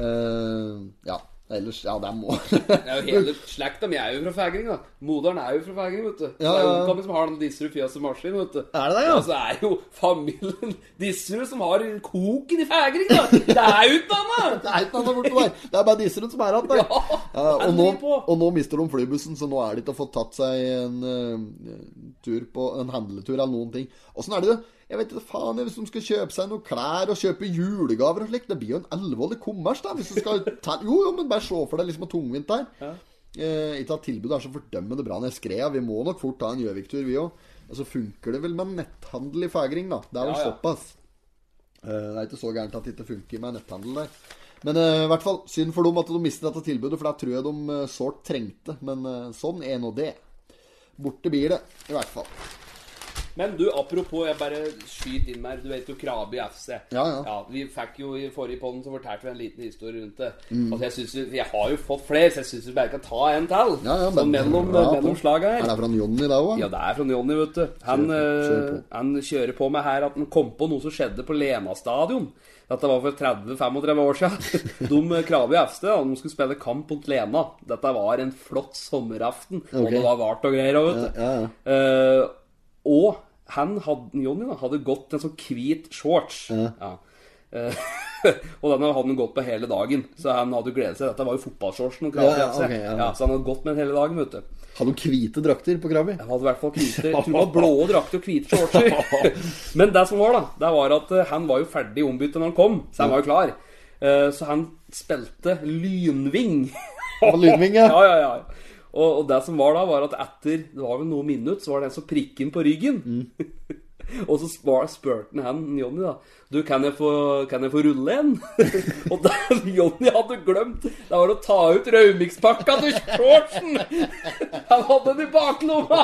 A: Eh, ja. Ellers Ja, det er må
B: Det er jo hele slekta mi er jo fra Fægring, da. Moderen er jo fra Fægring, vet du. Så
A: Ja,
B: det er
A: ja, ja.
B: onkelen min som har den Disserud Fjaset Maskin, vet du.
A: Er det det, ja?
B: så er jo familien Disserud som har koken i Fægring, da. Det er jo ikke annet!
A: Det er ikke noe annet borte der! Det er bare Disserud som er igjen der.
B: Ja,
A: Ja, og,
B: den
A: nå,
B: driver på.
A: og nå mister de flybussen, så nå er det ikke å få tatt seg en eh, tur på en handletur eller noen ting. Åssen er det det? Jeg vet ikke faen jeg, hvis de skal kjøpe seg noen klær og kjøpe julegaver og slikt. Det blir jo en alvorlig kommers, da. Hvis du skal ta... Jo, jo, men bare se for deg liksom en tungvint der. Eh, ikke at tilbudet er så fordømmende bra når jeg skrev. Vi må nok fort ta en Gjøvik-tur, vi òg. Og så funker det vel med netthandel i Fægring, da. Det er vel
B: Ja, ja.
A: såpass. Eh, Det er ikke så gærent at det ikke funker med netthandel der. Men eh, i hvert fall, synd for dem at de mister dette tilbudet, for det tror jeg de eh, sårt trengte. Men eh, sånn er nå det. Borte blir det, i hvert fall.
B: Men du, apropos, jeg bare skyter inn her. Du vet jo Krabi FC.
A: Ja, ja.
B: Vi fikk jo i forrige podden så fortalte vi en liten historie rundt det.
A: Mm.
B: Altså, jeg synes vi- Jeg har jo fått flere, så jeg syns vi bare kan ta en til.
A: Ja, ja,
B: sånn
A: men-
B: mellom,
A: ja,
B: mellom
A: på-
B: slaga her.
A: Er det fra Jonny da òg?
B: Ja, det er fra Johnny, vet du. Han,
A: Kjør på, kjør
B: eh, han kjører på med her at han kom på noe som skjedde på Lena stadion. Dette var for 30-35 år siden. De eh, Krabi FC da, de skulle spille kamp mot Lena. Dette var en flott sommeraften. Og
A: Ok.
B: det var vart og greier. Vet du.
A: Ja, ja,
B: Eh, og han hadde, Johnny da, hadde gått til en sånn hvit shorts. Ja. Eh, og den hadde han gått på hele dagen, så han hadde jo gledet seg. Dette var jo fotballshortsen. og Krabi
A: Ja, ja,
B: FC.
A: ok, ja.
B: ja, så han hadde gått med den hele dagen. vet du
A: Har de hvite drakter på Krabi?
B: han hadde i hvert fall hvite, jeg tror det var blå drakter og hvite shortser. Men det som var, da, det var at eh, han var jo ferdig ombyttet når han kom, så han var jo klar. Eh, Så han spilte lynving.
A: På Lynving, ja.
B: Ja, ja, ja. Og, og det som var da, var at etter det var vel noen minutter, så var det en som prikket ham på ryggen. og så spar- spurte han han Johnny, da. Du, kan jeg få, kan jeg få rulle en? og det Johnny hadde glemt, det var å ta ut Raumikspakka til shortsen! han hadde den i baklomma!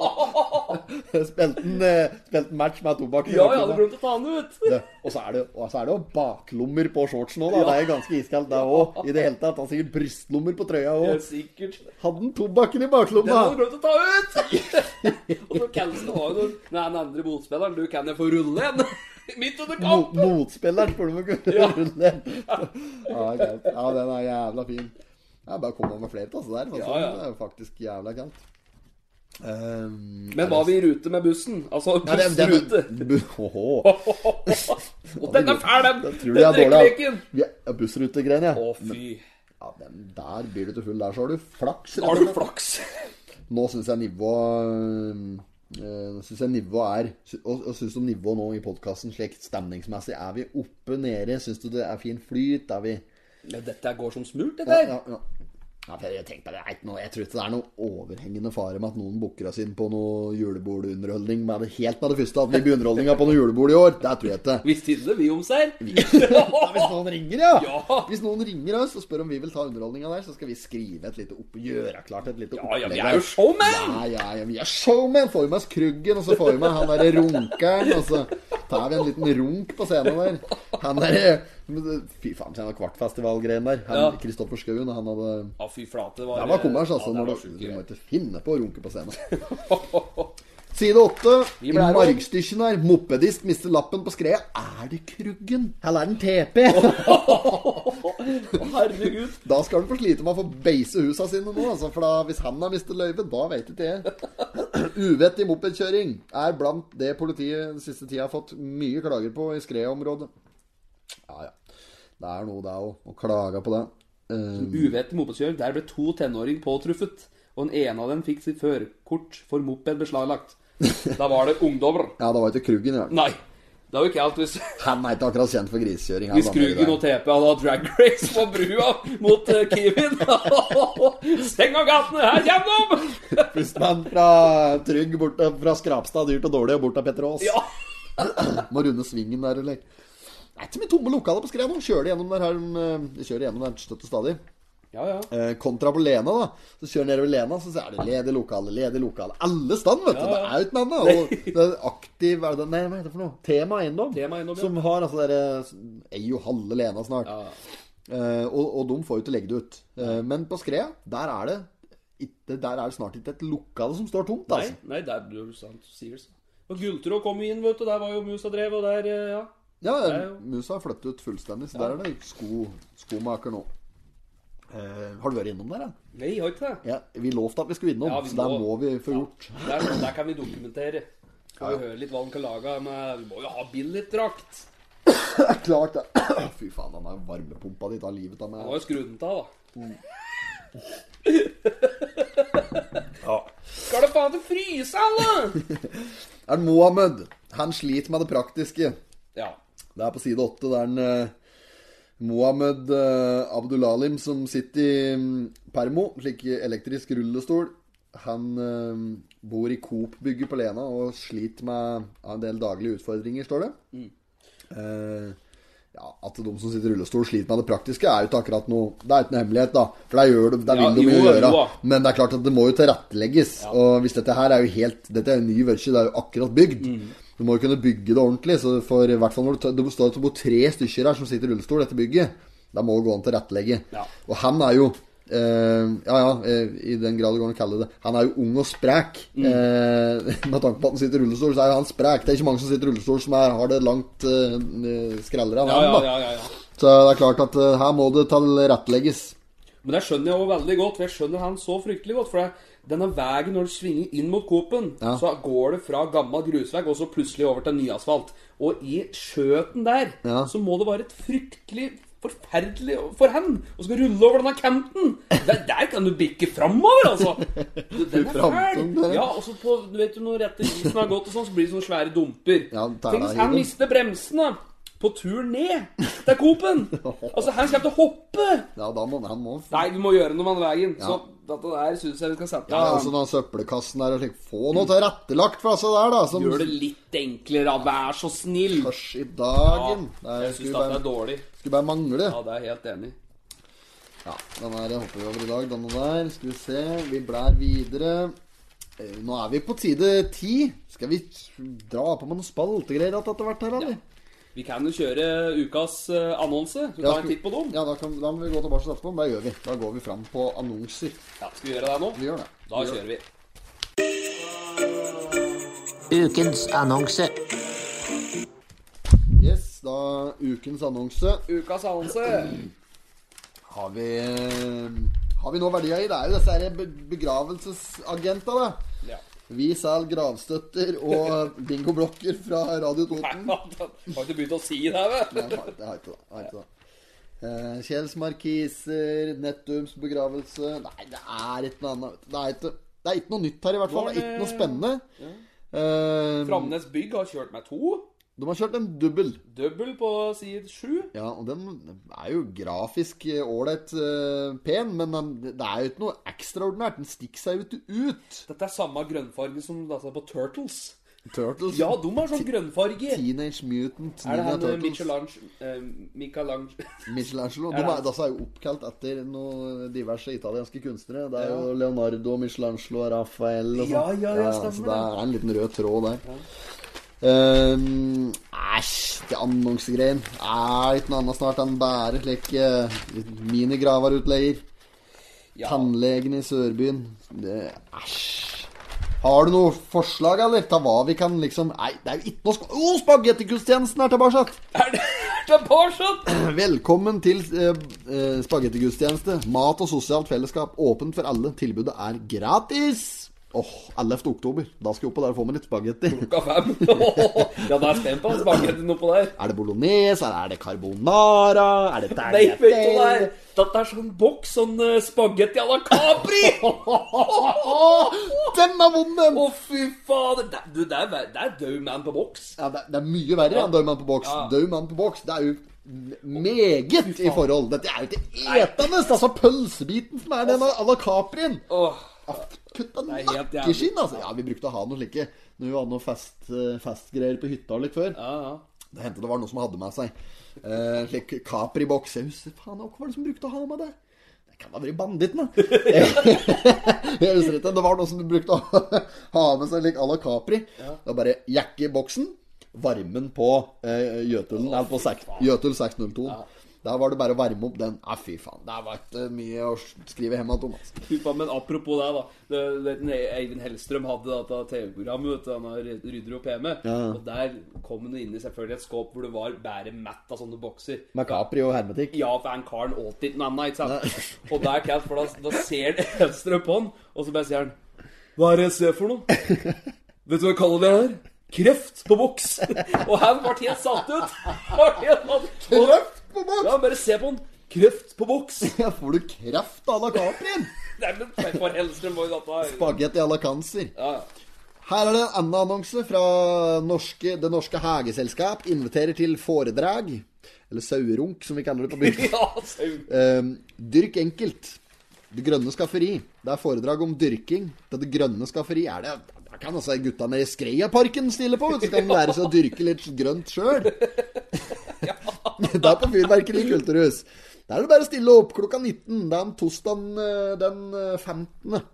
A: Spilte en, eh, spilte en match med tobakk. i
B: Ja, jeg hadde
A: bakgrunnen.
B: glemt å ta den ut!
A: Det- Og så er det og så er det jo baklommer på shortsen òg, da. Det er jo ganske iskaldt, det òg. I det hele tatt. Han har sikkert brystlommer på trøya
B: Ja,
A: òg.
B: sikkert.
A: Hadde han tobakken i
B: Den hadde
A: baklomma?
B: du glemt å ta ut! og så Kelsen har jo noen sånn- Nei, den andre motspilleren, du kan jeg få rulle en? Midt under
A: Mo-
B: kamp!
A: Motspilleren spør du om å kunne rulle den. Ja, greit. ja, den er jævla fin. Det er bare å komme med flere til, altså. Der. Altså,
B: Ja, ja.
A: Det er jo faktisk jævla kaldt. Um,
B: Men var vi i rute med bussen? Altså
A: Nei, det, det,
B: bussrute.
A: bu- Åhå.
B: Og den er fæl, den!
A: Den tror jeg er dårlig.
B: Den
A: ja.
B: drikkeleken.
A: Vi er- Bussrutegreiene,
B: Å,
A: ja.
B: fy.
A: ja. Den der blir du til full. Der så har du flaks. rett og
B: Da har du
A: slett.
B: flaks.
A: Nå syns jeg nivået øh, synes jeg nivået er sy- Og, og syns du nivået nå i podkasten slik stemningsmessig Er vi oppe, nede? Syns du det er fin flyt? Er vi
B: Men dette går som smurt,
A: Ja,
B: dette her.
A: ja, ja. Ja, for jeg tenkte bare, det er ikke noe, jeg tror ikke det er noe overhengende fare med at noen bukker oss inn på noe julebordunderholdning med det helt med det første. At vi blir underholdninga på noe julebord i år. Det tror jeg ikke.
B: Hvis tidlig vi om seg.
A: Hvis noen ringer, ja.
B: Ja.
A: Hvis noen ringer oss og spør om vi vil ta underholdninga der, så skal vi skrive et lite opp... Gjøre klart et lite
B: Ja, ja, vi
A: opplegg
B: er jo
A: der.
B: showmen!
A: Ja, ja, ja, vi er showman. Får med oss Kruggen, og så får vi med han derre runkeren, og så tar vi en liten runk på scenen der. Han derre Fy faen, se den kvartfestivalgreien der.
B: Ja.
A: Han, Kristoffer Skauen, han hadde
B: Ja, fy flate. det Var,
A: Det var kommers, altså.
B: Ja, det
A: når
B: var
A: du,
B: sjukt
A: du må
B: gøy.
A: ikke finne på å runke på scenen. Side åtte. I
B: ble her også.
A: margstykken her. Mopedist mister lappen på skredet. Er det Kruggen? Eller er den TP?
B: Å, Herregud.
A: Da skal du få slite med å få beise husa sine nå, altså, for da, hvis han har mistet løyvet, da vet ikke jeg. Uvettig mopedkjøring er blant det politiet den siste tida har fått mye klager på i skredområdet. Ja, ja. Det er noe, det òg, å klage på det. Eh,
B: Uvettig mopedkjøring. Der ble to tenåringer påtruffet. Og den ene av dem fikk sitt førerkort for moped beslaglagt. Da var det ungdommer.
A: ja, det var ikke Kruggen, ja.
B: Nei. Det er jo ikke alt hvis,
A: Han er ikke akkurat kjent for grisekjøring.
B: hvis Krugen og TP hadde hatt drag race på brua mot eh, Kiwin. Steng av gatene, her kommer de!
A: Pustmann fra Trygg, bort, fra Skrapstad, dyrt og dårlig, og bort av Petter Aas.
B: Ja.
A: Må runde svingen der, eller? Det er ikke så mye tomme lokaler på skred nå. Kjører de gjennom der her, eh, de kjører gjennom der støtt og stadig.
B: Ja, ja.
A: Eh, kontra på Lena, da. Så kjører nedover Lena, så er det ledig lokale, ledig lokale. Alle stand, vet du.
B: Ja, ja.
A: Det er jo ikke noe annet. Og det er aktiv hva er det, Nei, hva heter det for noe? Tema eiendom.
B: Tema Eiendom, ja.
A: Som har altså dere Eier jo halve Lena snart.
B: Ja.
A: Eh, og, og de får jo ikke legge det ut. Eh, men på Skrea, der er det ikke, der er det snart ikke et lokale som står tomt,
B: Nei,
A: altså.
B: nei, der ble det sant sigelse. Og Gultrå kom jo inn, vet du. Der var jo musa drev, og der, eh, ja.
A: Ja,
B: Det er jo-
A: musa har flyttet ut fullstendig, så der er det sko, skomaker nå. Eh, har du vært innom der, ja?
B: Nei, har ikke det.
A: ja? Vi lovte at vi skulle innom,
B: Ja, vi
A: så der
B: må-
A: må vi få gjort.
B: Der, der kan vi dokumentere. Får vi høre litt hva han kan lage. Men vi må jo ha billigdrakt.
A: Det er klart, det. Fy faen, han er varmepumpa di tar livet av
B: Han har
A: meg.
B: jo skrudd den av, da. Skal du faen til fryse, alle?!
A: Er det Mohammed? Han sliter med det praktiske.
B: Ja.
A: Det er på side åtte. Det er en eh, Mohammed eh, Abdulalim som sitter i mm, permo, slik elektrisk rullestol. Han eh, bor i Coop-bygget på Lena og sliter med en del daglige utfordringer, står det.
B: Mm.
A: Eh, ja, At de som sitter i rullestol sliter med det praktiske, er jo ikke akkurat noe Det er ikke noe hemmelighet, da. For det gjør de, det
B: Ja,
A: vil de jo,
B: jo,
A: gjøre.
B: jo da.
A: Men det er klart at det må jo tilrettelegges. Og hvis dette her er jo helt Dette er jo ny vørse, det er jo akkurat bygd.
B: Mm.
A: Du må jo kunne bygge det ordentlig. Så for i hvert fall når du, tar- det står at det bor tre stykker her som sitter i rullestol i dette bygget, da må det gå an å tilrettelegge.
B: Ja.
A: Og han er jo eh, ja, ja, eh, i den grad det går an å kalle det Han er jo ung og sprek.
B: Mm.
A: Eh, med tanke på at han sitter i rullestol, så er jo han sprek. Det er ikke mange som sitter i rullestol som er, har det langt eh, skrellere enn
B: Ja,
A: han.
B: ja,
A: da.
B: ja, ja, ja.
A: Så det er klart at eh, her må det tilrettelegges.
B: Men det skjønner jeg jo veldig godt. For jeg skjønner han så fryktelig godt. For det, denne veien når du svinger inn mot Coop-en,
A: Ja.
B: så går det fra gammel grusvei og så plutselig over til nyasfalt. Og i skjøten der
A: Ja.
B: så må det være et fryktelig forferdelig for han å skal rulle over denne kanten. Der, der kan du bikke framover, altså! Den er fæl.
A: Framtung, det.
B: Ja, og så på du vet jo når rette isen har gått, og sånn, så blir det sånne svære dumper.
A: Ja, den tar
B: Tenk
A: deg
B: hvis
A: i
B: han
A: den.
B: mister bremsene på tur ned til Coop-en! Altså, han kommer til å hoppe!
A: Ja, da må han må
B: Nei, vi må gjøre noe med den veien. Så dette der syns jeg vi skal sette
A: Ja, altså den søppelkassen der og slik. Få noe tilrettelagt for altså der, da. Som
B: Gjør det litt enklere, da. vær så snill.
A: Kors i dagen.
B: Ja,
A: det
B: jeg
A: er-
B: syns
A: skulle,
B: dette er
A: bare,
B: dårlig.
A: skulle bare mangle.
B: Ja, det er jeg helt enig. i.
A: Ja, den her hopper vi over i dag, denne der. Skal vi se. Vi blær videre. Eh, Nå er vi på side ti. Skal vi dra på med noen spaltegreier at etter hvert her, eller?
B: Vi kan jo kjøre ukas eh, annonse. Skal vi ta en titt på dem?
A: Ja, da, kan, da må vi gå tilbake til etterpå. men Det gjør vi. Da går vi fram på annonser.
B: Ja, skal vi gjøre det nå?
A: Vi gjør det.
B: Da kjører vi.
F: Ukens annonse.
A: Yes, da ukens annonse.
B: Ukas annonse.
A: Har vi Har vi noe verdier i? Det er jo disse her be- begravelsesagenter, da.
B: Ja.
A: Vi selger gravstøtter og bingoblokker fra Radio Toten.
B: Har ikke begynt å si det, vet du.
A: Nei, faen, det har ikke det. Har ikke det. Eh, Kjells markiser, Nettums begravelse Nei, det er ikke noe annet. vet du. Det er ikke, det er ikke noe nytt her, i hvert fall. Det er ikke noe spennende. Eh,
B: Framnes Bygg har kjørt med to.
A: de har kjørt en dubbel.
B: Double på side sju.
A: Ja, og den er jo grafisk eh, ålreit eh, pen, men den, det er jo ikke noe ekstraordinært. Den stikker seg jo ikke ut.
B: Dette er samme grønnfarge som dette på Turtles.
A: Turtles.
B: Ja, de har sånn grønnfarge.
A: Teenage Mutant
B: Er
A: Ninja
B: det han eh,
A: Turtles.
B: Michelange eh, Michelange
A: Michelangelo.
B: Er
A: De
B: det
A: er,
B: han?
A: disse er jo oppkalt etter noen diverse italienske kunstnere. Det er jo Leonardo, Michelangelo, Raphael og sånn.
B: Ja, ja, ja, stemmer
A: så
B: det.
A: det er en liten rød tråd der. Ehm, Æsj, det annonsegreien. Er ikke noe annet snart enn bare eh, slike minigravarutleier.
B: Ja.
A: Tannlegen i Sørbyen. Det- Æsj. Har du noe forslag, eller? Ta hva vi kan, liksom Nei, det er jo ikke noe sk- Å, spagettigudstjenesten er tilbake!
B: Er det det er bare sånn?
A: Velkommen til eh, eh, spagettigudstjeneste. Mat og sosialt fellesskap åpent for alle. Tilbudet er gratis! Åh, 11. oktober. Da skal vi opp og der få med litt spagetti.
B: Klokka fem. ja, da er jeg spent på om spagettien oppå der.
A: Er det bolognese? Er det carbonara? Er det
B: Nei, vet du hva det er?
A: tagliatelle?
B: Dette er sånn boks, sånn eh, spagetti à la Capri!
A: Åh, den er vond, den!
B: Å, fy fader! Det, du, det er, ver- det er død man på boks.
A: Ja, det, det er mye verre enn Død mann på boks.
B: Ja.
A: Død mann på boks, det er jo meget i forhold. Dette er jo ikke etende! Altså pølsebiten som er den à la caprien.
B: Åh,
A: Kutta
B: er helt jævlig.
A: nakkeskinn, altså! Ja, vi brukte å ha noe slike når vi hadde noe fest, eh, festgreier på hytta litt før.
B: ja, ja.
A: Det hendte det var noen som hadde med seg eh, slik Capri-boks. Jeg husker faen hva var det som brukte å ha med det? Det kan da være banditten, da. Jeg husker ikke. Det var noen som brukte å ha med seg lik à la Capri. Det var bare jakke i boksen, varmen på eh, Jøtulen, eller på sek, Jøtul 602. Der var det bare å varme opp den. Nei, fy faen. Det var ikke mye å skrive hjem igjen om. altså.
B: Fy faen, Men apropos det, da. Det, det, den Eivind Hellstrøm hadde dette TV-programmet. vet du, Han har rydder opp hjemme. Og der kom han inn i selvfølgelig et skap hvor det var bare mett av sånne bokser.
A: Med Capri og hermetikk.
B: Ja, for han karen åt ikke noe annet, ikke sant? Og det er kaldt, for da, da ser han Hellstrøm på han, og så bare sier han Hva er det jeg ser for noe? Vet du hva jeg kaller det her? Kreft på boks! Og han ble helt satt ut. Ble helt satt-
A: Kreft på boks?
B: Ja, bare se på han. Kreft på boks!
A: Ja, får du kreft à la Caprien?
B: Nei, men for Hellstrøm var jo dette
A: Spagetti à la cancer.
B: ja, ja.
A: Her er det en annen annonse fra norske, Det Norske Hageselskap. Inviterer til foredrag. Eller sauerunk, som vi kaller det på bygda.
B: Ja, sau.
A: Ehm, dyrk enkelt. Det grønne skafferi. Det er foredrag om dyrking til det grønne skafferi. Er det Da kan altså gutta nede i Skreiaparken stille på, vet du. Så kan de lære seg å dyrke litt grønt sjøl. Det er på Fyrverkeri kulturhus. Der er det bare å stille opp klokka 19. Det er om torsdagen eh, den eh, 15.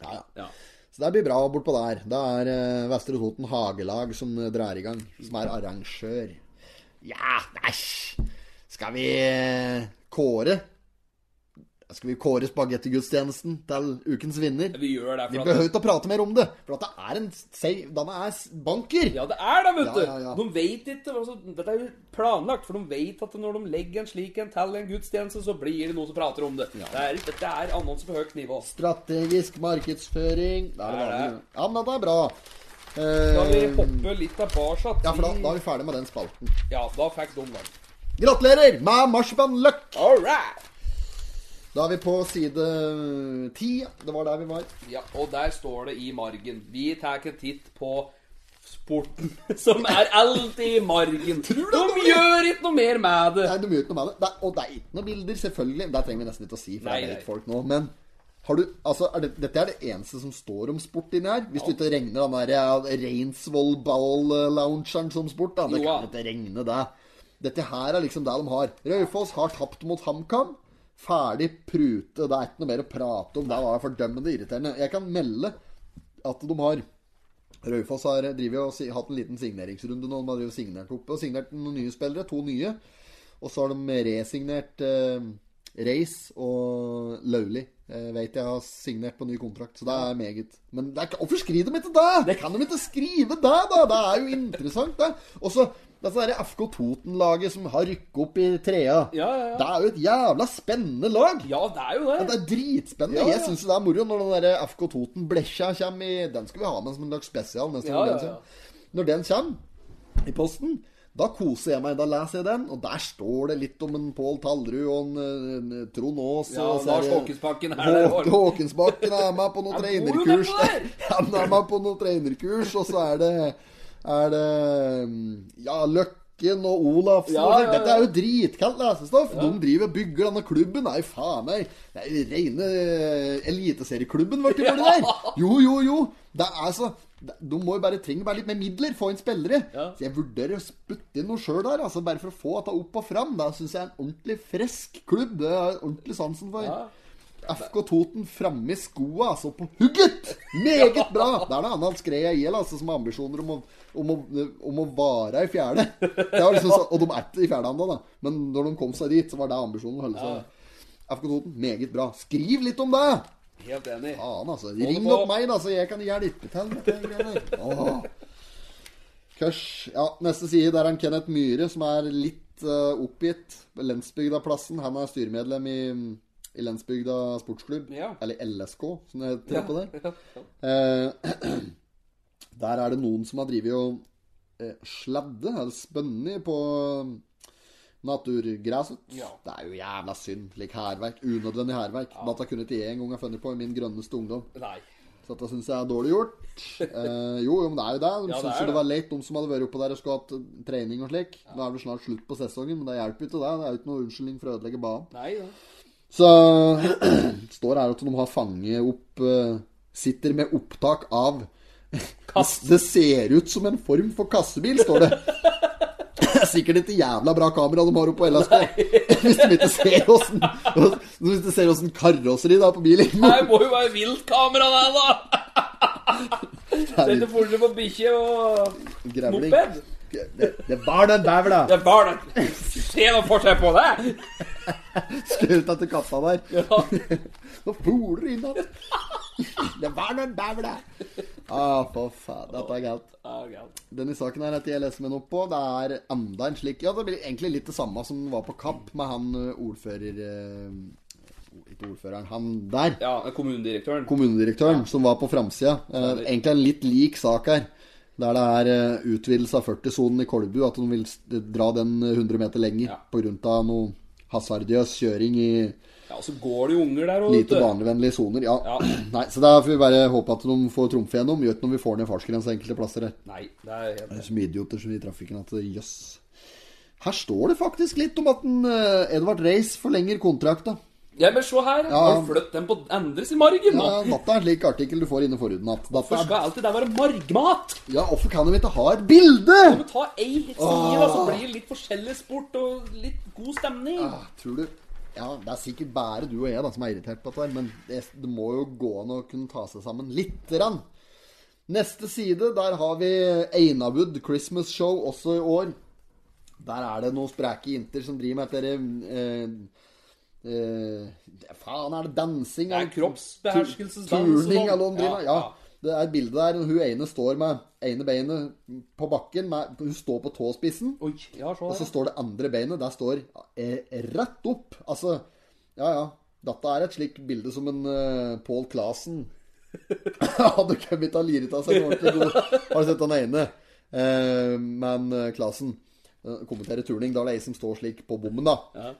A: Ja, ja.
B: Ja.
A: Så det blir bra bortpå der. Det er eh, Vestre Toten Hagelag som eh, drar i gang, som er arrangør. Ja, æsj! Skal vi eh, kåre Skal vi kåre spagettigudstjenesten til ukens vinner?
B: Vi gjør det
A: Vi
B: for at
A: behøver ikke å prate mer om det, for at det er en save, den er s- banker!
B: ja, det er det, vet du!
A: Ja, ja, ja.
B: De vet ikke altså, Dette er jo planlagt, for de vet at når de legger en slik en til en gudstjeneste, så blir det noen som prater om det. det er, dette er annonse på høyt nivå.
A: Strategisk markedsføring Det er det
B: Det er
A: vanlige.
B: det.
A: Ja, men dette er bra.
B: Skal vi
A: Eh,
B: hoppe litt tilbake
A: ja, for da, da er vi ferdig med den spalten.
B: Ja, da fikk de den.
A: Gratulerer med marsipanløk!
B: All right!
A: Da er vi på side eh, ti. Det var der vi var.
B: Ja, og der står det i margen. Vi tar en titt på sporten, som er alltid i margen. De gjør ikke noe mer med det.
A: Nei, du må gjøre noe med det. det er, og det er ikke noen bilder, selvfølgelig. Det trenger vi nesten ikke å si, for
B: Nei,
A: det
B: nei.
A: vet folk nå. Men har du, altså, er det, dette er det eneste som står om sport inni her. Hvis du ikke regner den der ja, Reinsvoll Ball-loungeren som sport, da. Det
B: Jo,
A: kan
B: ja.
A: ikke regne det. Dette her er liksom det de har. Raufoss har tapt mot HamKam. Ferdig prute. Det er ikke noe mer å prate om. Det var fordømmende irriterende. Jeg kan melde at de har Raufoss har eh, driver jo og si- hatt en liten signeringsrunde nå. De har jo signert opp og signert noen nye spillere, to nye. Og så har de resignert eh, Reis og Lauli. Jeg vet jeg har signert på ny kontrakt, så det er meget. Men det er ikke, hvorfor skriver de ikke det?! Det kan de ikke skrive det, da! Det er jo interessant, det. Og så dette der FK Toten-laget som har rykket opp i trea.
B: Ja, ja, ja.
A: Det er jo et jævla spennende lag!
B: Ja, det er jo
A: Det
B: det.
A: er dritspennende.
B: Ja, ja.
A: Jeg syns det er moro når den der FK Toten-blekja kommer i Den skal vi ha med som en slags spesial. Mens
B: Ja,
A: når,
B: ja,
A: den
B: ja.
A: kommer. når den kommer i posten, da koser jeg meg. Da leser jeg den, og der står det litt om en Pål Tallrud og en, en, en Trond Aas.
B: Ja,
A: og så er
B: Lars
A: det-
B: Håkensbakken er der.
A: Håke Håkensbakken er med på noen
B: Han bor jo
A: trenerkurs.
B: nedpå der!
A: Han er med på noen trenerkurs, og så er det, er det mm, Ja, Løkken og Olafsen.
B: Ja,
A: og sånt.
B: ja, ja.
A: Dette er jo dritkaldt lesestoff. De driver og bygger denne klubben. Nei, faen meg. Det er jo rene eh, eliteserieklubben, ble det ja. der. Jo, jo, jo. Det er så de må jo bare trenge bare litt mer midler, få inn spillere.
B: Ja.
A: Så jeg vurderer å spytte inn noe sjøl der, altså bare for å få dette opp og fram. Det syns jeg er en ordentlig frisk klubb. Det har jeg ordentlig sansen for.
B: Ja.
A: FK Toten framme i skoa, altså på hugget! Meget bra! Det er noe annet skred jeg gjelder, altså, som har ambisjoner om å, om, å, om å vare i fjerde. Det var liksom så, og de er ikke i fjerde ennå, da. Men når de kom seg dit, så var det ambisjonen å holde seg der. FK Toten, meget bra. Skriv litt om det!
B: Helt enig.
A: Faen, altså.
B: det
A: Ring
B: på.
A: opp meg, da, så jeg kan hjelpe til. med de greiene der. Åh. Kørs. Ja, neste side der er en Kenneth Myhre, som er litt eh, oppgitt. Lensbygdaplassen. Han er styremedlem i, i Lensbygda sportsklubb.
B: Ja.
A: Eller LSK, som det heter på der.
B: Ja.
A: Eh, der er det noen som har drevet og eh, sladde, eller spønnet, på um, naturgresset.
B: Ja.
A: Det er jo jævla synd. Slik hærverk. Unødvendig hærverk. Dette kunne ikke jeg engang ha funnet på i min grønneste ungdom.
B: Nei.
A: Så dette syns jeg er dårlig gjort. Eh, jo, jo, men det er jo det. De
B: Ja, det
A: syns
B: er
A: jo det
B: det.
A: var leit, de som hadde vært oppe der og skulle hatt eh, trening og slik. Nå er det snart slutt på sesongen, men det hjelper jo ikke det. Det er jo ikke noe unnskyldning for å ødelegge banen.
B: Nei, da.
A: Så står her at de har fanget opp eh, Sitter med opptak av
B: Kast.
A: Det ser ut som en form for kassebil, står det. Det er sikkert ikke jævla bra kamera de har oppe på LSK. Hvis de ikke ser åssen Hvis de ser åssen karosseri det er på bilen.
B: Nei, det må jo være viltkamera der, da! Sette fortere på bikkje og
A: Grevling.
B: moped.
A: Det, det var den bævla!
B: Det er bare det. Se noe forskjell på det!
A: Skjøt etter katta der.
B: Ja.
A: Nå foler det inn igjen. Det var den bævla! Ah, for faen. Dette er galt.
B: Ja, galt.
A: Denne saken her heter jeg leser meg noe på. Det er enda en slik Ja, det blir egentlig litt det samme som var på Kapp med han ø, ordfører ø, Ikke ordføreren, han der.
B: Ja, kommunedirektøren.
A: Kommunedirektøren som var på framsida. Eh,
B: det-
A: Egentlig en litt lik sak her. Der det er eh, utvidelse av 40-sonen i Kolbu. At de vil s- dra den 100 meter lenger
B: Ja.
A: pga. noe hasardiøs kjøring i
B: Ja, og så går det jo unger der òg,
A: lite barnevennlige soner. Ja.
B: Ja.
A: Nei, så da får vi bare håpe at de får trumfe gjennom. Gjør ikke noe om vi får ned fartsgrensa enkelte plasser her.
B: Nei, det er helt
A: Det er så mye idioter som i trafikken at eh, jøss. Her står det faktisk litt om at en, eh, Edvard Reis forlenger kontrakta.
B: Ja, men se her.
A: Ja.
B: Har du flyttet den på andre sin margen, nå?
A: Ja, dette er en slik artikkel du får inne forhuden at dette
B: Hvorfor
A: er,
B: skal alltid det være margmat?
A: Ja, hvorfor kan de ikke ha et bilde?!
B: Men ta ei side, da, så blir det litt forskjellig sport og litt god stemning.
A: Ah, Tror du Ja, det er sikkert bare du og jeg da som er irritert på dette, her, men det, det må jo gå an å kunne ta seg sammen lite grann. Neste side, der har vi Einawood Christmas Show også i år. Der er det noen spreke jenter som driver med dette eh, eh, Faen, er det dansing?
B: Det er
A: eller-
B: kroppsbeherskelsesdans og sånn.
A: Turning eller noe driver med. Ja.
B: Ja, ja.
A: Det er et bilde der hvor hun ene står med ene beinet på bakken. Med, hun står på tåspissen.
B: Oi, ja, se
A: Og så
B: her.
A: står det andre beinet, der står eh, rett opp. Altså, ja ja. Dette er et slikt bilde som en eh, Pål Clasen hadde kommet til å lire av seg en ordentlig god. Har du sett han ene? Eh, men eh, Clasen eh, kommenterer turning. Da er det ei som står slik på bommen, da.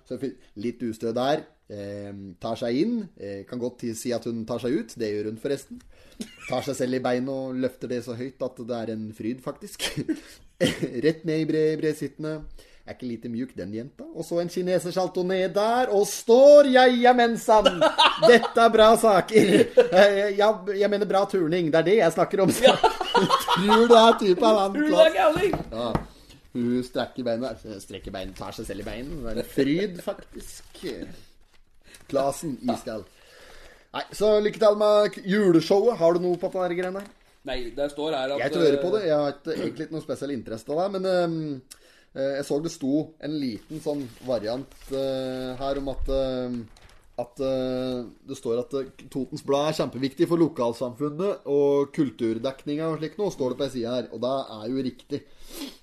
A: Så jeg fikk litt ustø der. Eh, tar seg inn. Eh, kan godt si at hun tar seg ut. Det gjør hun forresten. Tar seg selv i beinet og løfter det så høyt at det er en fryd, faktisk. Rett ned i bre bresittene. Er ikke lite mjuk, den jenta. Og så en kineser salto ned der, og står jajamensan! Dette er bra saker. Eh, Ja, jeg mener bra turning. Det er det jeg snakker om. Tror du det er typen av han
B: Tror du det er
A: Klas?
B: gærlig?
A: Ja. Hun strekker beina eh, Strekker beina, tar seg selv i beina. Det er en fryd, faktisk. Klasen iskald. Nei, så lykke til med k- juleshowet. Har du noe på denne greiene her?
B: Nei, det står her at
A: Jeg tror jeg hører på det. Jeg har ikke, egentlig ikke noe spesiell interesse av det, men ehm, eh, jeg så det sto en liten sånn variant eh, her om at ehm, at eh, det står at eh, Totens Blad er kjempeviktig for lokalsamfunnet og kulturdekninga og slikt noe, står det på ei side her. Og det er jo riktig.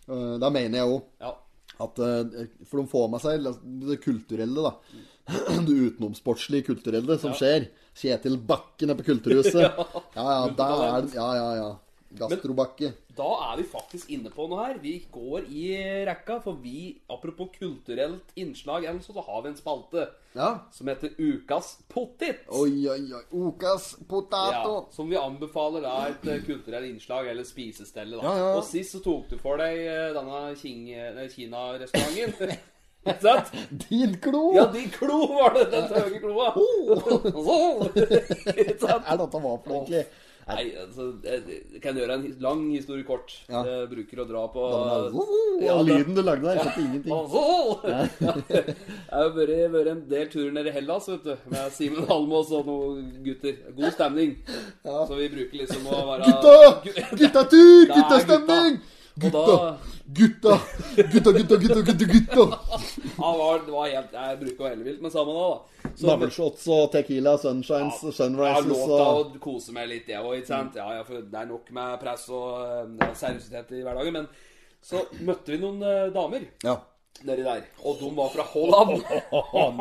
A: Uh, det mener jeg òg.
B: Ja.
A: At, eh, for de får med seg det kulturelle, da. Det utenomsportslige kulturelle som skjer. Kjetil Bakken er på Kulturhuset. ja, ja, der er den. Ja, ja, ja. Gastrobakke.
B: Da er vi faktisk inne på noe her. Vi går i rekka, for vi, apropos kulturelt innslag, eller noe sånt, så har vi en spalte
A: Ja.
B: som heter Ukas pottit.
A: Oi, oi, oi. Okas potato.
B: Ja, som vi anbefaler da et eh, kulturelt innslag eller spisestelle. da.
A: Ja, ja, ja.
B: Og sist så tok du for deg eh, denne King- nei, Kina-restauranten. Ikke sant?
A: Din klo!
B: Ja, de klo var det, den høye kloa. Ikke sant?
A: Er dette hva for noe, egentlig?
B: Nei, altså, jeg kan gjøre en his- lang historie kort.
A: Ja.
B: Jeg bruker å dra på
A: Ja,
B: Ja, det-
A: lyden du lagde der, skjønte ingenting.
B: Ja. Jeg har vært, vært en del turer nede i Hellas vet du, med Simen Almås og noen gutter. God stemning. Så vi bruker liksom å være
A: Gutta! Guttatur!
B: Da er
A: Guttastemning!
B: gutta.
A: Gutta! Gutta, gutta, gutta, gutta, gutta! gutta.
B: Ja, det var, det var helt, jeg bruker å være ellevilt, men samme da. da. Så-
A: Navleshots og tequila, sunshines,
B: Jeg har
A: sunrises
B: lov
A: og
B: til å kose meg litt, jeg òg. Ja, ja, for det er nok med press og eh, seriøsitet i hverdagen. Men så møtte vi noen eh, damer
A: Ja.
B: nedi der, og de var fra Holland.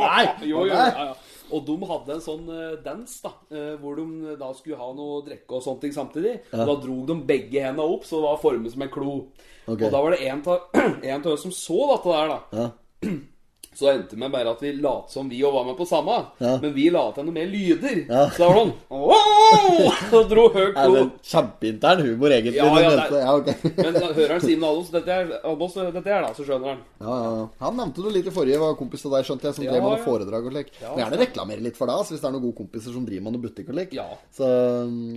A: nei!
B: jo, jo,
A: Nei.
B: ja, ja. Og de hadde en sånn eh, dans, da, eh, hvor de da skulle ha noe å drikke og sånne ting samtidig. Og da dro de begge hendene opp, så det var formet som en klo.
A: Ok.
B: Og da var det en av oss som så dette der, da.
A: Ja.
B: Så endte det med bare at vi lot som vi òg var med på samme,
A: Ja.
B: men vi la til noe mer lyder.
A: Ja.
B: Så det var sånn «Åh!» Og dro høy
A: Er
B: klo.
A: det kjempeintern humor, egentlig?
B: Ja,
A: den
B: ja,
A: neste?
B: det er-
A: ja, ok.
B: Men da hører han Simen Almås dette, er- Almås, dette er da, så skjønner han.
A: ja, ja, ja. Han nevnte du litt i forrige, var kompis av deg, skjønte jeg, som
B: Ja,
A: drev med
B: ja.
A: noen foredrag og slik. Men gjerne reklamere litt for deg, altså, hvis det er noen gode kompiser som driver med noe butikk og slik.
B: Ja.
A: Så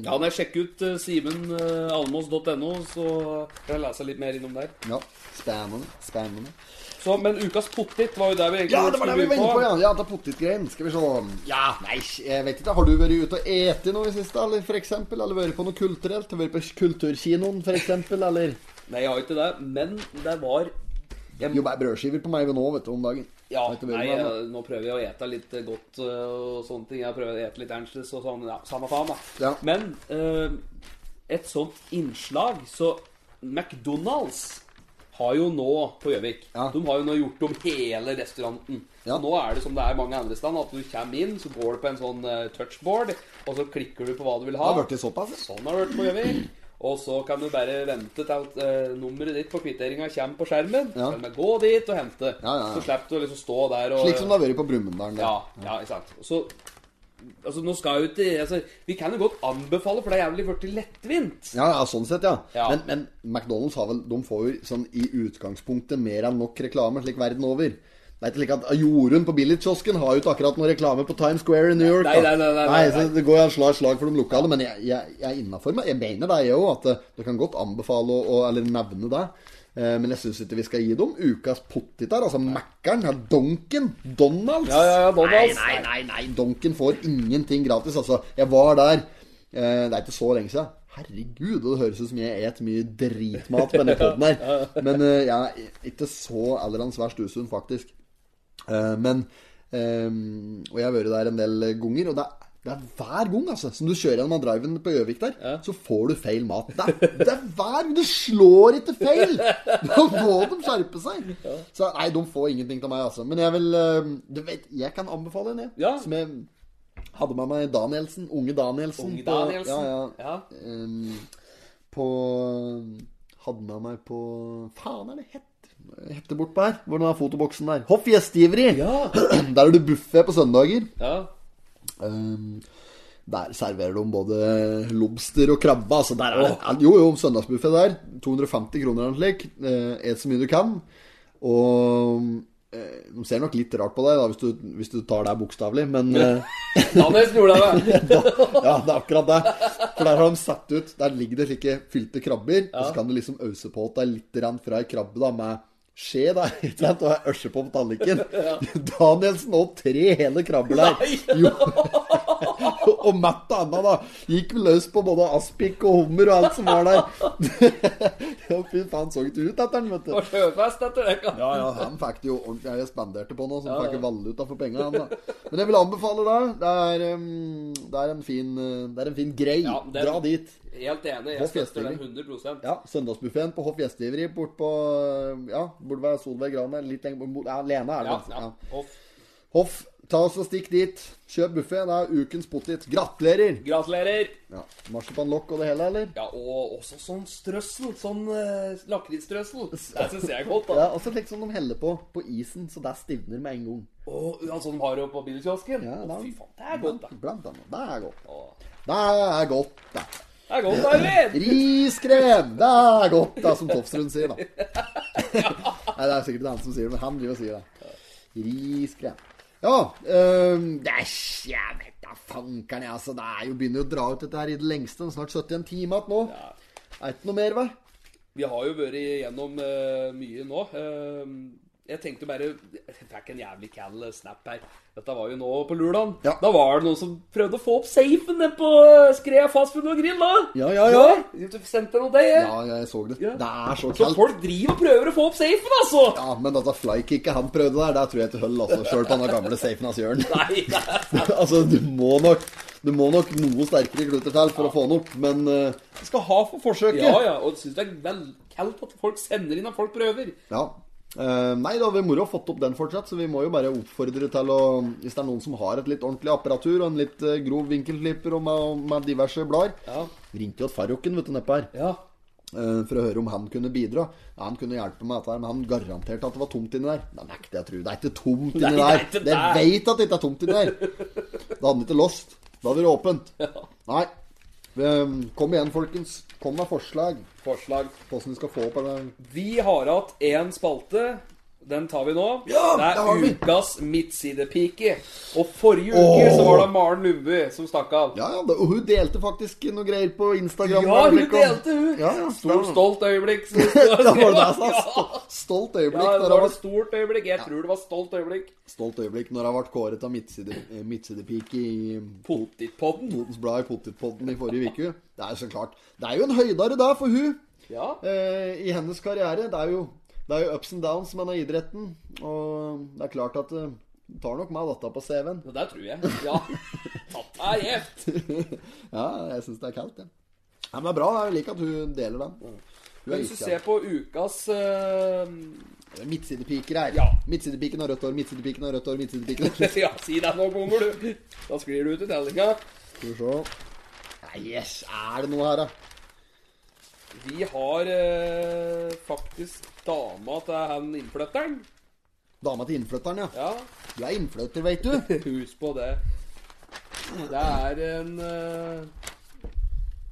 B: Ja, Når jeg sjekker ut uh, simenalmås.no, så kan jeg lese litt mer innom der.
A: ja. Spennende. Spennende.
B: Så, men ukas pottit var jo der vi egentlig
A: Ja, det var det vi
B: skulle
A: var inne på,
B: begynne
A: ja. Ja, det er potetgreien. Skal vi se. Ja, nei, jeg vet ikke. Har du vært ute og ete noe i det siste, eller for eksempel? Eller vært på noe kulturelt? Vært på kulturkinoen, for eksempel, eller?
B: Nei, jeg har ikke det, men det var
A: Jo, bare brødskiver på meg ved nå, vet du, om dagen.
B: Ja,
A: Vet du hva
B: nei,
A: det var?
B: eh, nå prøver jeg å ete litt eh, godt eh, og sånne ting. Jeg prøver å ete litt ernstes og sånn. Ja, samme faen, da.
A: Ja.
B: Men eh, et sånt innslag Så McDonald's har jo nå på Gjøvik
A: Ja.
B: De har jo nå gjort om hele restauranten.
A: Ja.
B: Så nå er det som det er mange andre steder, at du kommer inn, så går du på en sånn eh, touchboard, og så klikker du på hva du vil ha.
A: Det har vært det såpass, ja.
B: Sånn har det vært på Gjøvik. Og så kan du bare vente til at eh, nummeret ditt på kvitteringa kommer på skjermen.
A: Ja.
B: Så kan du bare gå dit og hente.
A: Ja, ja, ja.
B: Så slipper du å liksom stå der og
A: Slik som det har vært på Brumunddal.
B: ja, ja, ikke sant. Så Altså, nå skal jo ikke altså, Vi kan jo godt anbefale, for det er jævlig blitt lettvint.
A: Ja, ja, sånn sett, ja.
B: Ja.
A: Men, men McDonald's har vel, de får jo sånn i utgangspunktet mer enn nok reklame slik verden over. Det er ikke slik at Jorunn på Billigkiosken har jo ikke akkurat noe reklame på Times Square i New York.
B: Nei,
A: da.
B: nei, nei, nei, nei,
A: så Det går jo en slag slag for de lokale, men jeg, jeg, jeg er innafor meg. Jeg mener det, jeg òg, at eh, du kan godt anbefale å, å- eller nevne det. Eh, Men jeg syns ikke vi skal gi dem ukas pottit der. Altså Mækkern, ja, Donken, Donalds.
B: Ja, ja, ja, Donalds.
A: Nei, nei, nei, nei, Donken får ingenting gratis. Altså, jeg var der eh, Det er ikke så lenge siden. Herregud, og det høres ut som jeg et mye dritmat på denne podden her. Men eh, jeg er ikke så allerandsverst usunn, faktisk. Eh, men ehm, Og jeg har vært der en del ganger, og det er, det er hver gang altså, som du kjører gjennom driven på Gjøvik der, så får du feil mat. Det, er- det er hver gang! Du slår ikke feil! Da må de skjerpe seg. Så nei, de får ingenting av meg, altså. Men jeg vil ehm, Du vet, jeg kan anbefale en, jeg.
B: Ja.
A: Som jeg hadde med meg Danielsen. Unge Danielsen.
B: Unge
A: på- Ja,
B: Danielsen.
A: ja.
B: Ja.
A: Ehm, på Hadde med meg på Faen, er det hett? Hette bortpå her. Hvor den har fotoboksen der. Hoff gjestgiveri! Der er det buffé på søndager.
B: Ja.
A: Ehm, der serverer de både lobster og krabbe. Altså der er det, jo, jo, søndagsbuffé der. 250 kroner eller noe slikt. Eh, Et så mye du kan. Og eh, de ser nok litt rart på deg da, hvis, du, hvis du tar det bokstavelig, men eh,
B: Daniel gjorde det.
A: da, ja, det er akkurat det. For der har de satt ut Der ligger det slike fylte krabber, og så kan du liksom ause på at det er litt rann fra ei krabbe da med skje, da, ikke sant, og ørse på på tallriken. Danielsen åt tre hele krabber der. Jo. og Matt og Anna da gikk vel løs på både aspik og hummer og alt som var der. ja, fy faen, så ikke ut etter den, vet
B: Og
A: du.
B: sjøfest etter det.
A: Ja, ja, han fikk det jo ordentlig. Jeg spanderte på noe, så han fikk ikke valuta for penga. han, da. Men jeg vil anbefale det. Det er, em, det er, en, fin, eh, det er en fin grei.
B: Ja, den-
A: Dra dit.
B: Helt enig.
A: Og
B: Jeg støtter den
A: festlig.
B: 100
A: Ja, Søndagsbuffeen på Hoff Gjestgiveri bort på Ja, burde være Solveig Gran eller litt lenger bort. Ja, Lene er det.
B: Ja,
A: vel?
B: ja.
A: Ja.
B: Hoff.
A: Hoff, ta oss og stikk dit. Kjøp buffé. Det er ukens potet. Gratulerer!
B: Gratulerer.
A: Ja, Marsipanlokk og det hele, eller?
B: Ja, og også sånn strøssel. Sånn eh, lakrisstrøssel. Det syns jeg er godt, da.
A: Ja, og så slik som de heller på på isen, så det stivner med en gang.
B: Og ja, sånn de har jo på bilkiosken.
A: Ja,
B: Å,
A: da.
B: Fy faen, det er godt, da.
A: Blant annet. Det er godt.
B: Å,
A: Det er godt, da.
B: Det er godt, Arvid!
A: Riskrem! Det er godt, da, som Tofsrud sier, da. Nei, det er sikkert ikke han som sier det, men han driver og sier det. Riskrem. Ja øhm, det er, sj- Jeg vet da fankeren, jeg. Altså, det er jo begynner jo å dra ut dette her i det lengste. Det er Snart 71 timer igjen nå.
B: Ja.
A: Er ikke noe mer, hva?
B: Vi har jo vært igjennom eh, mye nå. Eh, jeg tenkte bare Jeg fikk en jævlig cal snap her. Dette var jo nå på Lurdan.
A: Ja.
B: Da var det noen som prøvde å få opp safen nede på Skrea fastfood og grill, da.
A: Ja, ja, ja.
B: Du sendte noe deg, jeg.
A: Ja, jeg så det.
B: Ja.
A: Det er så
B: Så
A: kaldt.
B: folk driver og prøver å få opp safen, altså!
A: Ja, men dette flykicket han prøvde der, der tror jeg ikke holder, altså. Sjøl på den gamle safen hans Jørn.
B: Nei, det er
A: altså, du må nok Du må nok noe sterkere kluter til for å få den opp, men eh, du skal ha for forsøket.
B: Ja, ja, og syns det er vel kaldt at folk sender inn at folk prøver.
A: Ja. Eh, nei, da har vi moro fått opp den fortsatt, så vi må jo bare oppfordre til å Hvis det er noen som har et litt ordentlig apparatur og en litt eh, grov vinkelklipper og med, med diverse blader
B: Ja.
A: Ringte jo til Farroken, vet du, nedpå her,
B: Ja.
A: eh, for å høre om han kunne bidra. Ja, han kunne hjelpe meg med dette her, men han garanterte at det var tomt inni der. Det nekter jeg å tro. Det er ikke tomt inni der.
B: Nei, det er ikke
A: Det
B: der.
A: veit at det ikke er tomt inni der. Da hadde han ikke lost. Da hadde det vært åpent. Nei. Eh, Kom igjen, folkens. Kom med forslag
B: Forslag.
A: på hvordan vi skal få opp den
B: Vi har hatt én spalte. Den tar vi nå.
A: Ja,
B: det
A: det har
B: er
A: vi.
B: ukas midtsidepike. Og forrige uke så var det Maren Lundby som stakk av.
A: Ja, ja, da- og hun delte faktisk noe greier på Instagram.
B: Ja, hun
A: øyeblikk, og-
B: delte, hun.
A: Ja, ja,
B: Stort,
A: stemmer.
B: stolt øyeblikk. som det
A: Da var
B: står.
A: det det,
B: Ja.
A: altså. Sto- Stolt øyeblikk.
B: Ja,
A: når
B: det
A: hun
B: var
A: ble-
B: et stort øyeblikk. Jeg tror det var stolt øyeblikk.
A: Stolt øyeblikk når hun ble kåret av midtside- eh, midtsidepike i
B: Potetpodden.
A: Potens Blad i Potetpodden i forrige uke. Det er jo så klart. Det er jo en høydare der for hun
B: Ja.
A: eh, i hennes karriere. Det er jo, det er jo ups and downs med denne idretten. Og det er klart at eh, hun tar nok meg datta på CV-en.
B: Det der tror jeg. Ja. Tatt er gjevt.
A: Ja, jeg syns det er kaldt, jeg. Ja. men det er bra. Jeg liker at hun deler den. Hun
B: Hvis du Mm. ser på ukas eh,
A: Midtsidepiker her.
B: Ja.
A: Midtsidepiken har rødt hår, midtsidepiken har rødt hår, midtsidepiken har
B: Ja, si deg noen ganger, du. Da sklir du ut i tellinga.
A: Skal vi se. Nei, yes, er det noe her, da?
B: Vi har eh, faktisk dama til han innflytteren.
A: Dama til innflytteren, ja.
B: Ja,
A: Du er innflytter, veit du.
B: husk på det. Det er en eh,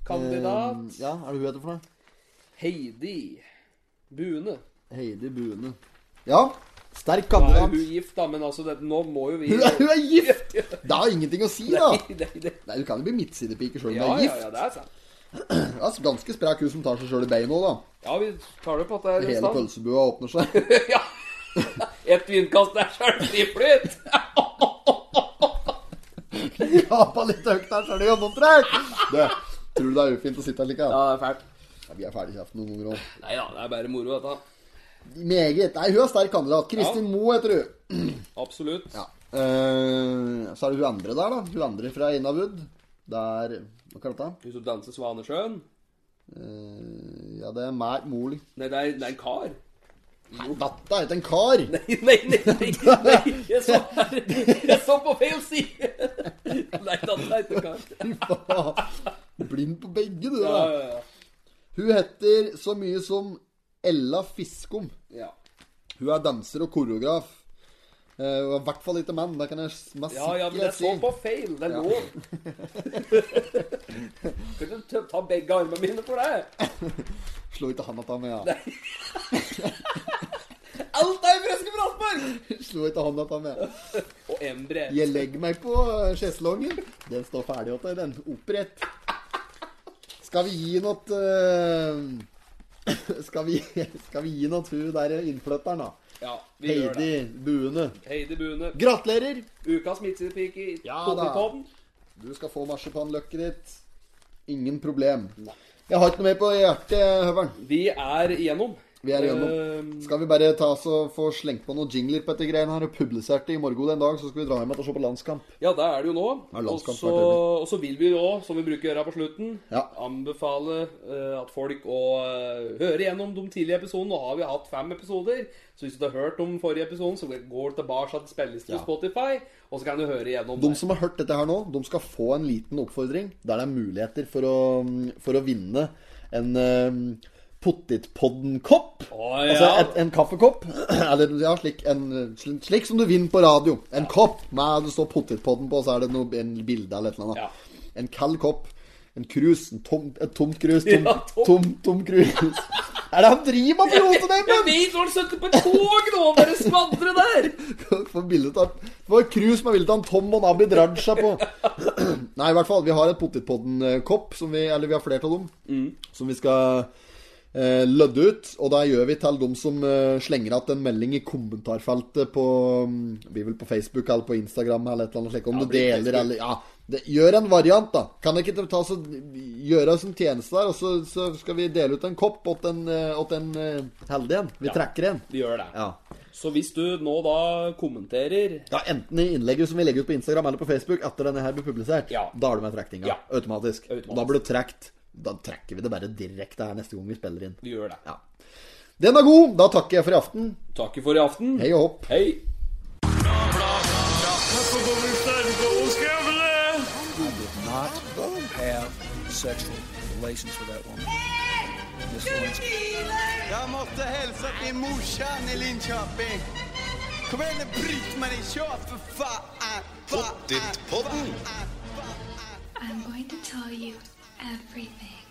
B: kandidat.
A: Eh, ja, er det hun heter for noe?
B: Heidi Bune.
A: Heidi Bune. Ja, sterk
B: Da er hun
A: kandidat.
B: gift, da, men altså, det, nå må jo vi
A: Hun er, hun er gift! Det har ingenting å si, da.
B: Nei, nei, det-
A: Nei, Du kan jo bli midtsidepike sjøl om
B: Ja,
A: du er
B: ja,
A: gift.
B: ja, det er sant.
A: Det er ganske sprek hun som tar seg sjøl i beina òg, da.
B: Ja, vi tar det på at det er
A: Hele
B: stand.
A: pølsebua åpner seg.
B: Ja. Et vindkast der, så er det friflyt.
A: Gapa litt høyt der, så er det gjennomtrekk. Du, tror du det er ufint å sitte her like?
B: Ja,
A: da?
B: det er fælt.
A: Ja, vi er ferdig kjeft noen ganger òg.
B: Nei da, det er bare moro, dette.
A: Meget. Nei, hun er sterk kandidat. Kristin Moe heter hun.
B: Absolutt.
A: Ja. Eh, så er det hun andre der, da. Hun andre fra Innawood. Det er Hva kaller det?
B: Hvis du danser Svanesjøen
A: Uh, ja, det er Mært Moli.
B: Nei, det er, det er en kar.
A: Dette er ikke en kar!
B: Nei, nei, nei, nei, nei. Jeg, så, jeg så på feil side! Nei, da, nei, det er ikke kar.
A: Blind på begge, du.
B: Ja,
A: da
B: ja, ja.
A: Hun heter så mye som Ella Fiskum.
B: Ja.
A: Hun er danser og koreograf. Eh, Hun er i hvert fall ikke mann. Det kan jeg s- med
B: ja, ja, men jeg
A: sikkerhet
B: så
A: si.
B: på feil. Det er lov. Kan du tø- ta begge armene mine for det?
A: Slo ikke han at han med, ja.
B: Alt er friske fra Asperg!
A: Slo ikke han at han med.
B: Og Embre.
A: Jeg legger meg på sjeslongen. Den står ferdig åt deg, den. Opprett. Skal vi gi noe eh, skal, vi, skal vi gi noe til hun der eh, innflytteren, da?
B: Ja, vi gjør det.
A: Heidi Buene.
B: Heidi Bune.
A: Gratulerer!
B: Ukas midtsidepike i
A: Ja, da.
B: Potetpodden.
A: Du skal få marsipanløkket ditt. Ingen problem. Jeg har ikke noe mer på hjertet, Høveren.
B: Vi er igjennom. Ehm,
A: Vi er igjennom. Skal vi bare ta oss og få slengt på noen jingler på dette greiene her og publisert det i morgen en dag, så skal vi dra hjem igjen og se på landskamp.
B: Ja, det er det jo nå.
A: Ja, landskamp
B: Og så-
A: hvert øyeblikk.
B: og så vil vi nå, som vi bruker å gjøre her på slutten,
A: Ja.
B: anbefale eh, at folk å eh, høre gjennom de tidlige episodene. Nå har vi hatt fem episoder, så hvis du har hørt om forrige episoden, så går du tilbake til spillelisten på Spotify, og så kan du høre gjennom
A: De
B: der.
A: som har hørt dette her nå, de skal få en liten oppfordring der det er muligheter for å, for å vinne en um, Pottitpodden-kopp.
B: Å, ja.
A: Altså et, en kaffekopp. Eller ja, slik, en, slik, slik som du vinner på radio. En kopp med det står Pottitpodden på, og så er det noe, en bilde eller et eller
B: Ja.
A: annet. En kald kopp. En krus. En tom, et tomt krus. Tom,
B: Ja, tom.
A: tom, tom krus. er det han driver med for
B: Jeg
A: Rosenheimen?
B: vet hvor han sitter på et tog nå og bare skvadrer der!
A: Få bildet av Det var Krus med bildet av Tom og Abid Raja på. Nei, i hvert fall. Vi har et Pottitpodden-kopp, som vi, eller vi har flere av dem,
B: Mm.
A: som vi skal eh, lødde ut. Og det gjør vi til dem som eh, slenger igjen en melding i kommentarfeltet på mm, Vi vil på Facebook eller på Instagram eller et eller annet slikt. Om du
B: blir
A: deler
B: Facebook.
A: eller Ja. Det, gjør en variant, da. Kan ikke dere ta så, gjøre oss en tjeneste der, og så, så skal vi dele ut en kopp åt en, eh, åt en eh, heldig en? Vi trekker en.
B: Vi gjør det.
A: Ja.
B: Så hvis du nå da kommenterer
A: Ja, Enten i innlegget som vi legger ut på Instagram eller på Facebook etter denne her blir publisert.
B: Ja.
A: Da er du med i trekninga.
B: Ja.
A: Automatisk.
B: Automatisk.
A: Og da blir du trekt. Da trekker vi det bare direkte her neste gang vi spiller inn.
B: Vi gjør det.
A: Ja. Den er god! Da takker jeg for i aften.
B: Takk for i aften.
A: Hei og hopp.
B: Hei.
C: not have sexual relations with that woman. Miss Lewinsky.
D: Jag måste hälsa till morsan i Linköping. Kom igen nu Britt-Marie, kör för fan! Pottitpodden!
G: I'm going to tell you everything.